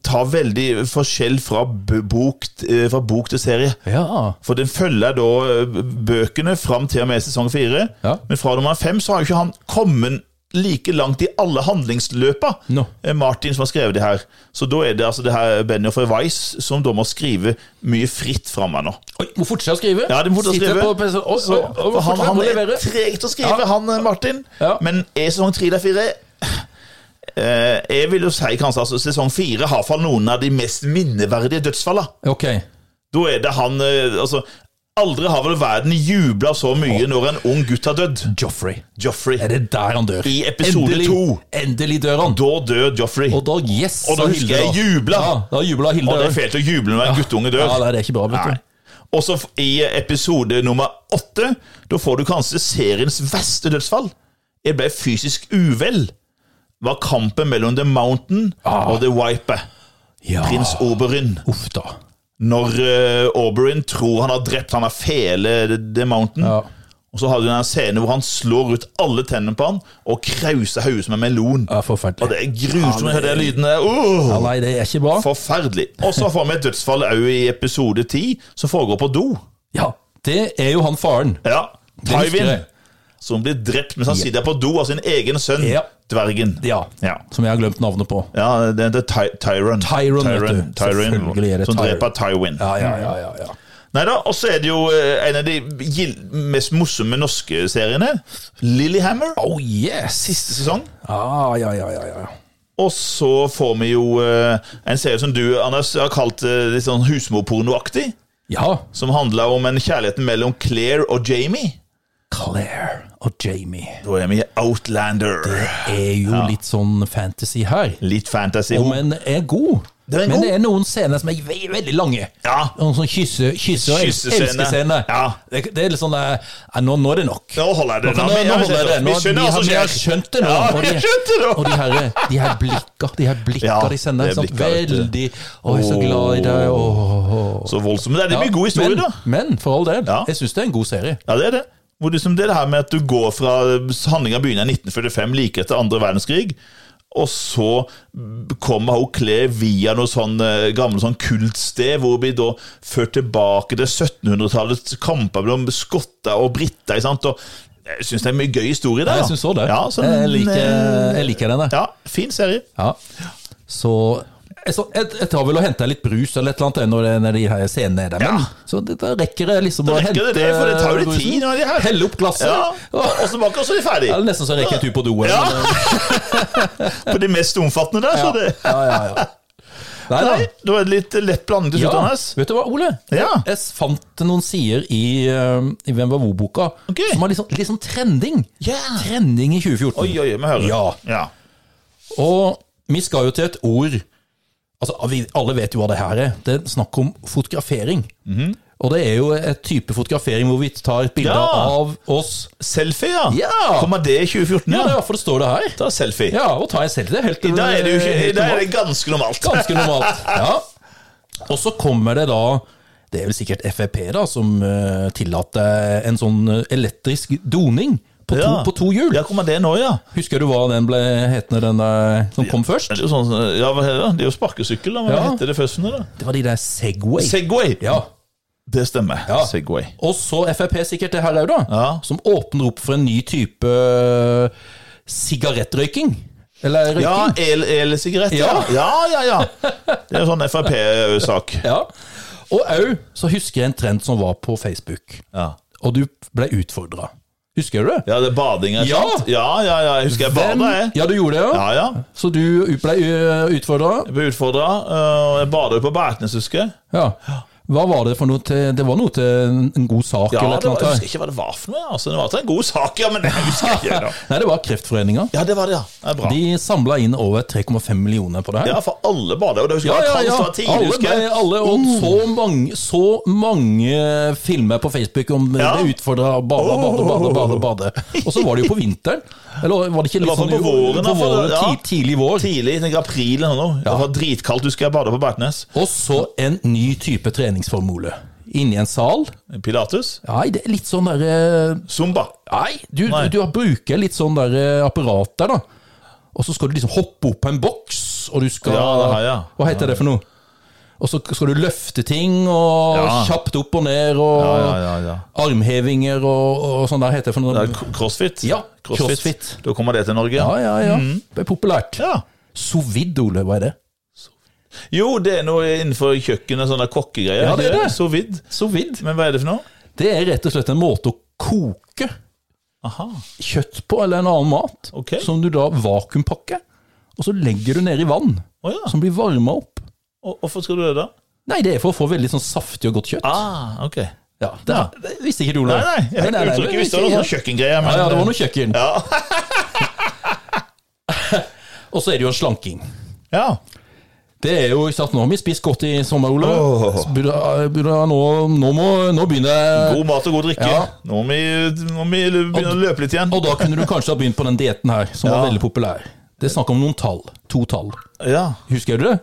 Speaker 2: ta veldig forskjell fra b- bok, eh, fra bok til serie.
Speaker 1: Ja.
Speaker 2: For den følger da eh, bøkene fram til og med sesong fire.
Speaker 1: Ja.
Speaker 2: Men fra nummer fem så har jo ikke han kommet like langt i alle handlingsløpa.
Speaker 1: Nå.
Speaker 2: Eh, Martin som har skrevet det her. Så da er det altså det her Benjofer Weiss som da må skrive mye fritt fram her nå.
Speaker 1: Oi, må fortsette å skrive.
Speaker 2: Ja, det må fortsette å
Speaker 1: Sitter
Speaker 2: skrive.
Speaker 1: På, PC oi, oi,
Speaker 2: Så,
Speaker 1: oi,
Speaker 2: for han,
Speaker 1: fortsette
Speaker 2: han
Speaker 1: å
Speaker 2: er
Speaker 1: levere.
Speaker 2: treg til å skrive, han eh, Martin.
Speaker 1: Ja.
Speaker 2: Men er sesong tre eller fire eh, Jeg vil jo si kanskje altså, sesong fire har iallfall noen av de mest minneverdige dødsfallene.
Speaker 1: Ok.
Speaker 2: Da er det han eh, Altså, aldri har vel verden jubla så mye når en ung gutt har dødd.
Speaker 1: Joffrey.
Speaker 2: Joffrey.
Speaker 1: Er det der han dør?
Speaker 2: I episode
Speaker 1: endelig,
Speaker 2: to.
Speaker 1: Endelig dør han.
Speaker 2: Da dør Joffrey.
Speaker 1: Og da yes,
Speaker 2: Og da
Speaker 1: sa
Speaker 2: husker
Speaker 1: Hilde
Speaker 2: jeg
Speaker 1: da.
Speaker 2: jubla.
Speaker 1: Ja, da jubla Hilde.
Speaker 2: Og det er
Speaker 1: også.
Speaker 2: fælt å juble når en guttunge dør.
Speaker 1: Ja, nei, det er ikke bra, vet
Speaker 2: Nei.
Speaker 1: du.
Speaker 2: Og så f- i episode nummer åtte, da får du kanskje seriens verste dødsfall. Jeg ble fysisk uvel. Var kampen mellom The Mountain
Speaker 1: Ah.
Speaker 2: og The Wiper.
Speaker 1: Ja.
Speaker 2: Prins Oberyn.
Speaker 1: Uff da.
Speaker 2: Når eh, Oberyn tror han har drept han har fele The Mountain.
Speaker 1: Ja.
Speaker 2: Og så har du den her scenen hvor han slår ut alle tennene på han og krauser hodet som en melon.
Speaker 1: Det er
Speaker 2: Og
Speaker 1: forferdelig.
Speaker 2: det er grusomt å høre den lyden der. Uh,
Speaker 1: Ja, nei, det er ikke bra.
Speaker 2: forferdelig. Og så får vi et dødsfall òg i episode ti, som foregår på do.
Speaker 1: Ja, det er jo han faren.
Speaker 2: Ja,
Speaker 1: husker jeg.
Speaker 2: Tywin, som blir drept mens han sitter på do av sin egen sønn,
Speaker 1: Ja.
Speaker 2: dvergen.
Speaker 1: Ja.
Speaker 2: Ja.
Speaker 1: Som jeg har glemt navnet på.
Speaker 2: Ja, det heter Ty Tyron.
Speaker 1: Tyron, vet du.
Speaker 2: Tyron,
Speaker 1: Selvfølgelig er det
Speaker 2: som
Speaker 1: Tyron.
Speaker 2: dreper Tywin.
Speaker 1: Ja, ja, ja. ja, ja.
Speaker 2: Nei da, og så er det jo eh, en av de gil- mest morsomme norske seriene. Lillehammer,
Speaker 1: Oh yes!
Speaker 2: siste sesong.
Speaker 1: Ah, ja, ja, ja, ja.
Speaker 2: Og så får vi jo eh, en serie som du, Anders, har kalt eh, litt sånn husmorpornoaktig.
Speaker 1: Ja,
Speaker 2: Som handler om en kjærligheten mellom Claire og Jamie.
Speaker 1: Claire og Jamie.
Speaker 2: Da er vi i Outlander.
Speaker 1: Er jo litt sånn fantasy her.
Speaker 2: Litt fantasy.
Speaker 1: Men er god.
Speaker 2: Den er
Speaker 1: Men
Speaker 2: god.
Speaker 1: det er noen scener som er ve veldig lange.
Speaker 2: Ja.
Speaker 1: Noen sånn kysse, kysse og elske
Speaker 2: Kyssescene.
Speaker 1: elskescene.
Speaker 2: Ja.
Speaker 1: Det, det er litt sånn eh, ja, nå, nå er det nok.
Speaker 2: Nå holder jeg det.
Speaker 1: Nå, nå, nå holder jeg det. Nå,
Speaker 2: vi
Speaker 1: de
Speaker 2: skjønner hva som
Speaker 1: har- de har
Speaker 2: skjer.
Speaker 1: skjønt det nå.
Speaker 2: Ja,
Speaker 1: og de,
Speaker 2: vi skjønte det nå.
Speaker 1: og de her, de her blikka de, her blikka
Speaker 2: Ja,
Speaker 1: de sender.
Speaker 2: det er
Speaker 1: sant?
Speaker 2: blikka, vet du.
Speaker 1: Veldig Å, jeg er så glad i deg. Åh.
Speaker 2: Så voldsomt. Men Det er det blir god historie,
Speaker 1: men,
Speaker 2: da.
Speaker 1: men for all del,
Speaker 2: Ja.
Speaker 1: jeg syns det er en god serie.
Speaker 2: Ja, det er det. Hvor liksom det er det her med at du går fra handlinga begynner i 1945, like etter andre verdenskrig, og så kommer hun Claire via noe sånn eh, gammelt sånn kultsted, hvor vi da ført tilbake til 1700-tallets kamper mellom skotter og briter. ikke sant? Og jeg syns det er mye gøy historie der.
Speaker 1: Jeg
Speaker 2: da.
Speaker 1: syns òg det.
Speaker 2: Ja, så den,
Speaker 1: jeg, liker,
Speaker 2: eh,
Speaker 1: jeg liker denne.
Speaker 2: Ja, fin serie.
Speaker 1: Ja. Så jeg, så- jeg, jeg tar vel og henter litt brus eller et eller annet når, det, når de her scenene er der. Men,
Speaker 2: Ja.
Speaker 1: Så det, da rekker det liksom å
Speaker 2: rekker det det, for det tar jo litt
Speaker 1: brusen,
Speaker 2: tid når de er her.
Speaker 1: Helle opp glasset.
Speaker 2: Ja,
Speaker 1: Og,
Speaker 2: Og så bak, og så er de
Speaker 1: det er
Speaker 2: ferdige.
Speaker 1: nesten så jeg rekker en tur på do. eller-
Speaker 2: Ja. På de mest omfattende der, så det
Speaker 1: sånn, eh. ja, ja, ja. Nei da.
Speaker 2: Nei, da er det litt lett blandet til slutt,
Speaker 1: Ja,
Speaker 2: Anders.
Speaker 1: vet du hva, Ole?
Speaker 2: Ja.
Speaker 1: Jeg fant noen sider i, eh, i Hvem var hvor-boka
Speaker 2: Ok.
Speaker 1: som var litt sånn, litt sånn trending.
Speaker 2: Ja.
Speaker 1: Trending i 2014.
Speaker 2: Oi, oi, oi, vi hører.
Speaker 1: Ja. Og vi skal jo til et ord Altså, vi, Alle vet jo hva det her er. Det er snakk om fotografering.
Speaker 2: Mhm.
Speaker 1: Og det er jo et type fotografering hvor vi tar et bilde
Speaker 2: Ja.
Speaker 1: av oss.
Speaker 2: Selfie, ja.
Speaker 1: Ja.
Speaker 2: Kommer det i 2014?
Speaker 1: Ja, det er derfor det står det her.
Speaker 2: Da er selfie.
Speaker 1: Ja, Og ta en selfie. Det er helt,
Speaker 2: Da er det, jo ikke,
Speaker 1: helt
Speaker 2: da er
Speaker 1: normalt.
Speaker 2: det ganske normalt.
Speaker 1: Ganske normalt. Ja. Og så kommer det da Det er vel sikkert Frp da, som eh, tillater en sånn eh, elektrisk doning på to,
Speaker 2: Ja.
Speaker 1: på to hjul.
Speaker 2: Ja, kommer det nå, ja.
Speaker 1: Husker du hva den ble hetende, den der som kom først?
Speaker 2: Det er jo, sånn, ja, hva heter det? Det er jo sparkesykkel, da. men Hva
Speaker 1: Ja.
Speaker 2: heter det først? nå, da?
Speaker 1: Det var de der Segway.
Speaker 2: Segway.
Speaker 1: ja.
Speaker 2: Det stemmer.
Speaker 1: Ja.
Speaker 2: Segway.
Speaker 1: Og så Frp sikkert det her òg, da.
Speaker 2: Ja.
Speaker 1: Som åpner opp for en ny type eh, sigarettrøyking. Eller
Speaker 2: Ja,
Speaker 1: røyking.
Speaker 2: el- el-sigarett.
Speaker 1: Ja.
Speaker 2: ja, ja, ja. Det er en sånn Frp-sak.
Speaker 1: Ja. Og òg så husker jeg en trend som var på Facebook,
Speaker 2: Ja.
Speaker 1: og du ble utfordra. Husker du det?
Speaker 2: ja, det er bading, er
Speaker 1: Ja.
Speaker 2: sant? Ja, ja, ja. Jeg husker jeg bada, jeg.
Speaker 1: ja, du gjorde det, ja.
Speaker 2: Ja, ja.
Speaker 1: Så du ble eh, utfordra.
Speaker 2: Jeg ble utfordra. øh, Jeg bada jo på Bertnes, husker jeg.
Speaker 1: Ja. Hva var det for noe til Det var noe til en god sak
Speaker 2: Ja,
Speaker 1: eller et
Speaker 2: det
Speaker 1: eller
Speaker 2: var,
Speaker 1: annet?
Speaker 2: jeg husker ikke hva det var for noe. Altså, det var til en god sak, ja, men jeg husker ikke.
Speaker 1: her?
Speaker 2: Da.
Speaker 1: Nei, det var Kreftforeninga.
Speaker 2: Ja, det var det, ja. Det er bra.
Speaker 1: De samla inn over 3,5 millioner på det her.
Speaker 2: Ja, for alle bader. Og det husker jeg var kaldt, det var tidlig,
Speaker 1: Alle,
Speaker 2: husker jeg. Mm.
Speaker 1: ble- alle, og så mange, så mange filmer på Facebook om eh,
Speaker 2: Ja. Oh.
Speaker 1: det utfordra å bade, bade, bade, bade, bade. Og så var det jo på vinteren. Eller var det ikke litt
Speaker 2: var
Speaker 1: sånn
Speaker 2: på våren, da,
Speaker 1: på
Speaker 2: for-
Speaker 1: våren
Speaker 2: ja.
Speaker 1: ti, tidlig vår?
Speaker 2: Tidlig, jeg tenker april eller noe. Det var dritkaldt, husker jeg badet på Bertnes.
Speaker 1: Og så en ny type treningsform, Ole. Inni en sal.
Speaker 2: Pilatus.
Speaker 1: Nei, det er litt sånn derre
Speaker 2: Zumba.
Speaker 1: Nei, du,
Speaker 2: Nei.
Speaker 1: du, du har- bruker litt sånn der eh, apparat der, da. Og så skal du liksom hoppe opp på en boks, og du skal
Speaker 2: Ja, det har jeg.
Speaker 1: Hva heter det for noe? Og så skal du løfte ting, og
Speaker 2: Ja.
Speaker 1: kjapt opp og ned, og
Speaker 2: Ja, ja, ja, ja.
Speaker 1: armhevinger og, og sånn der heter det for
Speaker 2: Det
Speaker 1: noe.
Speaker 2: er k- Crossfit.
Speaker 1: Ja,
Speaker 2: crossfit.
Speaker 1: crossfit.
Speaker 2: Da kommer det til Norge.
Speaker 1: Ja, ja, ja. Det er populært.
Speaker 2: Mhm. Ja.
Speaker 1: Sous vide, Ole, hva er det?
Speaker 2: Jo, det er noe innenfor kjøkkenet, sånne kokkegreier.
Speaker 1: Ja, det er det.
Speaker 2: Sous vide.
Speaker 1: Sous vide?
Speaker 2: Men hva er det for noe?
Speaker 1: Det er rett og slett en måte å koke
Speaker 2: Aha.
Speaker 1: kjøtt på, eller en annen mat,
Speaker 2: Ok.
Speaker 1: som du da vakuumpakker, og så legger du ned i vann,
Speaker 2: Å ja.
Speaker 1: som blir varma opp.
Speaker 2: Og, hvorfor skal du det, da?
Speaker 1: Nei, det er for å få veldig sånn saftig og godt kjøtt.
Speaker 2: Ah, ok.
Speaker 1: Ja, det,
Speaker 2: Ja.
Speaker 1: det visste ikke du, Ole.
Speaker 2: Nei, nei. Jeg hørte uttrykket.
Speaker 1: men-
Speaker 2: Visst, det var noe sånn kjøkkengreier,
Speaker 1: Ja,
Speaker 2: men
Speaker 1: ja, det var noe kjøkken.
Speaker 2: Ja.
Speaker 1: Og så er det jo slanking.
Speaker 2: ja.
Speaker 1: Det er jo ikke sant, Nå har vi spist godt i sommer, Ole.
Speaker 2: Åh.
Speaker 1: Så Burde, burde, nå, nå, må, nå begynner
Speaker 2: God mat og god drikke.
Speaker 1: Ja.
Speaker 2: Nå, må vi, nå må vi begynne å løpe litt igjen.
Speaker 1: Og da kunne du kanskje ha begynt på den dietten her, som var
Speaker 2: Ja.
Speaker 1: veldig populær. Det er snakk om noen tall. To tall.
Speaker 2: Ja.
Speaker 1: Husker du det?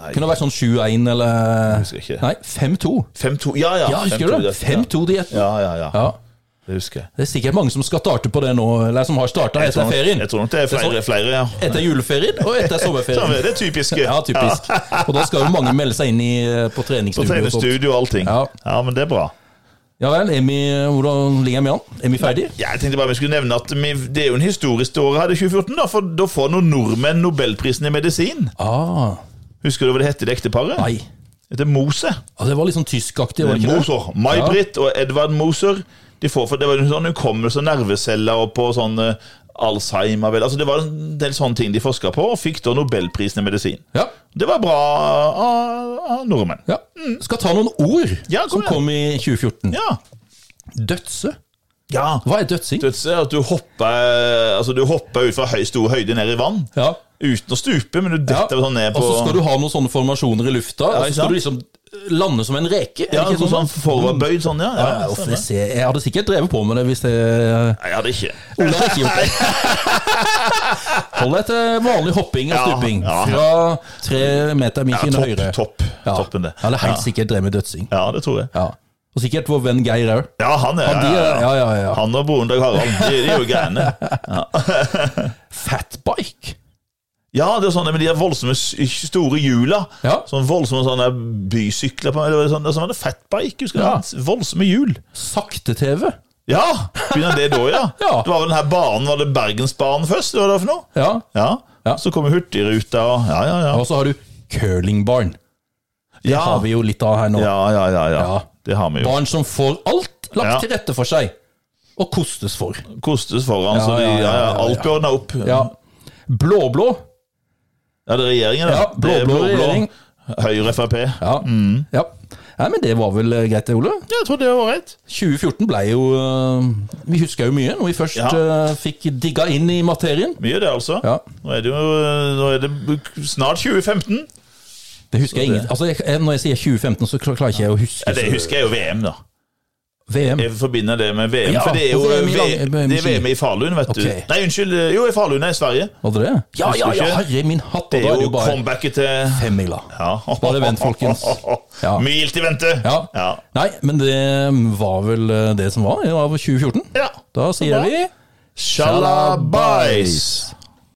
Speaker 2: Nei.
Speaker 1: Kunne det vært sånn 7-1 eller
Speaker 2: Husker ikke.
Speaker 1: Nei, 5-2.
Speaker 2: 5-2. Ja, ja.
Speaker 1: Ja, husker du det? 5-2-dietten.
Speaker 2: Ja, ja, ja.
Speaker 1: Ja.
Speaker 2: Det husker jeg.
Speaker 1: Det er sikkert mange som skal starte på det nå, eller som har starta
Speaker 2: Jeg tror,
Speaker 1: etter
Speaker 2: nok-
Speaker 1: ferien.
Speaker 2: jeg tror nok det er flere,
Speaker 1: Det sånn-
Speaker 2: flere ja.
Speaker 1: Etter juleferien og etter
Speaker 2: Så
Speaker 1: sommerferien.
Speaker 2: er eh, det typiske.
Speaker 1: Ja, typisk. Og da skal jo mange melde seg inn i, eh, på
Speaker 2: Ja,
Speaker 1: treningsstudio.
Speaker 2: Trene
Speaker 1: og sånt.
Speaker 2: studio og allting.
Speaker 1: Ja.
Speaker 2: Ja. men det er bra.
Speaker 1: Ja vel, er vi, hvordan ligger vi an? Er vi ferdige?
Speaker 2: Ja, jeg tenkte bare vi skulle nevne at vi, Det er jo en historisk år her i 2014, da, for da får noen nordmenn Nobelprisen i medisin.
Speaker 1: Ah,
Speaker 2: Husker du hva det het, det ekteparet?
Speaker 1: nei.
Speaker 2: heter Mose.
Speaker 1: Ja, det var litt sånn tyskaktig, var det ikke det?
Speaker 2: Moser. May-Britt og Edvard Moser. De får, for det var jo sånn hukommelse og nerveceller og på sånn eh, Alzheimer vel. Altså Det var en del sånne ting de forska på, og fikk da Nobelprisen i medisin.
Speaker 1: Ja.
Speaker 2: Det var bra av av nordmenn.
Speaker 1: ja. Skal ta noen ord
Speaker 2: Mm. Ja,
Speaker 1: som
Speaker 2: kom igjen.
Speaker 1: kom i 2014.
Speaker 2: Ja.
Speaker 1: Dødse.
Speaker 2: ja.
Speaker 1: Hva er dødsing?
Speaker 2: Du vet, se at du hopper, altså du hopper ut fra høy, stor høyde ned i vann.
Speaker 1: Ja.
Speaker 2: Uten å stupe, men du
Speaker 1: Ja.
Speaker 2: detter sånn ned
Speaker 1: Og
Speaker 2: på
Speaker 1: så skal du ha noen sånne formasjoner i lufta, og
Speaker 2: ikke
Speaker 1: så skal du liksom lande som en reke. er det
Speaker 2: Ja,
Speaker 1: ikke
Speaker 2: sånn, sånn foroverbøyd sånn, ja.
Speaker 1: Ja,
Speaker 2: ja,
Speaker 1: ja, for
Speaker 2: stemmer.
Speaker 1: jeg, ser, jeg hadde sikkert drevet på med det hvis jeg
Speaker 2: Nei, jeg hadde ikke.
Speaker 1: Ole har ikke gjort det. Hold deg til vanlig hopping og
Speaker 2: Ja,
Speaker 1: stuping.
Speaker 2: ja.
Speaker 1: Fra tre meter
Speaker 2: Ja,
Speaker 1: minken
Speaker 2: topp,
Speaker 1: høyre.
Speaker 2: topp.
Speaker 1: Ja.
Speaker 2: Toppen det.
Speaker 1: Jeg hadde helt sikkert drevet med dødsing.
Speaker 2: Ja, det tror jeg.
Speaker 1: Ja. Og sikkert vår venn Geir òg.
Speaker 2: Ja, han er
Speaker 1: Han, de er- ja, ja, ja.
Speaker 2: Han og broren Dag Harald, de, de er jo gærne.
Speaker 1: Fatbike.
Speaker 2: Ja, det er sånne med de er voldsomme s- store hjula.
Speaker 1: Ja.
Speaker 2: Sånn voldsomme sånne bysykler på Eller sånn, sånn var det fatbike, husker du?
Speaker 1: Ja.
Speaker 2: Voldsomme hjul.
Speaker 1: Sakte-TV.
Speaker 2: Ja! Begynner det da, ja?
Speaker 1: Ja.
Speaker 2: Det var vel den her banen, var det Bergensbanen først? Det var det for noe?
Speaker 1: Ja.
Speaker 2: Ja.
Speaker 1: Ja.
Speaker 2: Så kommer Hurtigruta og Ja, ja, ja.
Speaker 1: Og så har du curlingbarn. Det
Speaker 2: Ja.
Speaker 1: har vi jo litt av her nå.
Speaker 2: Ah. Ja, ja, ja, ja.
Speaker 1: Ja.
Speaker 2: Det har vi jo.
Speaker 1: Barn som får alt lagt
Speaker 2: Ja.
Speaker 1: til rette for seg, og kostes for.
Speaker 2: Kostes foran, så de,
Speaker 1: ja,
Speaker 2: ja,
Speaker 1: ja,
Speaker 2: ja,
Speaker 1: ja, ja.
Speaker 2: alt blir ordna opp.
Speaker 1: Ja. Blå-blå.
Speaker 2: Ja, det er regjeringen, da.
Speaker 1: Ja, blå-blå
Speaker 2: Det er
Speaker 1: regjering.
Speaker 2: Høyre Frp.
Speaker 1: Ja. ja. Nei, men det var vel eh, greit, det, Ole?
Speaker 2: Jeg tror det var ålreit.
Speaker 1: 2014 ble jo eh, Vi husker jo mye når vi først
Speaker 2: Ja.
Speaker 1: eh, fikk digga inn i materien.
Speaker 2: Mye det, altså.
Speaker 1: Ja.
Speaker 2: Nå er det jo nå er det snart 2015.
Speaker 1: Det husker jeg ingen Altså, jeg, jeg- Når jeg sier 2015, så klar- klarer ikke jeg å huske
Speaker 2: Ja, det husker jeg jo VM, da.
Speaker 1: VM.
Speaker 2: Jeg forbinder det med VM,
Speaker 1: Ja,
Speaker 2: for det er jo
Speaker 1: og VM i
Speaker 2: V-
Speaker 1: lang-
Speaker 2: det er VM i Falun, vet du.
Speaker 1: Ok.
Speaker 2: Nei, unnskyld. Jo, i Falun er i Sverige.
Speaker 1: Var det det? Ja,
Speaker 2: Husker
Speaker 1: ja, ja,
Speaker 2: ikke.
Speaker 1: herre min hatt!
Speaker 2: Det
Speaker 1: Og da
Speaker 2: er
Speaker 1: er det
Speaker 2: jo
Speaker 1: jo bare
Speaker 2: comebacket til
Speaker 1: femmila.
Speaker 2: ja.
Speaker 1: Bare vent, folkens. Ja.
Speaker 2: Milt i vente.
Speaker 1: Ja.
Speaker 2: Ja.
Speaker 1: Nei, men det mm, var vel eh, det som var av 2014.
Speaker 2: ja.
Speaker 1: Da sier
Speaker 2: bra.
Speaker 1: vi
Speaker 2: Shalabais.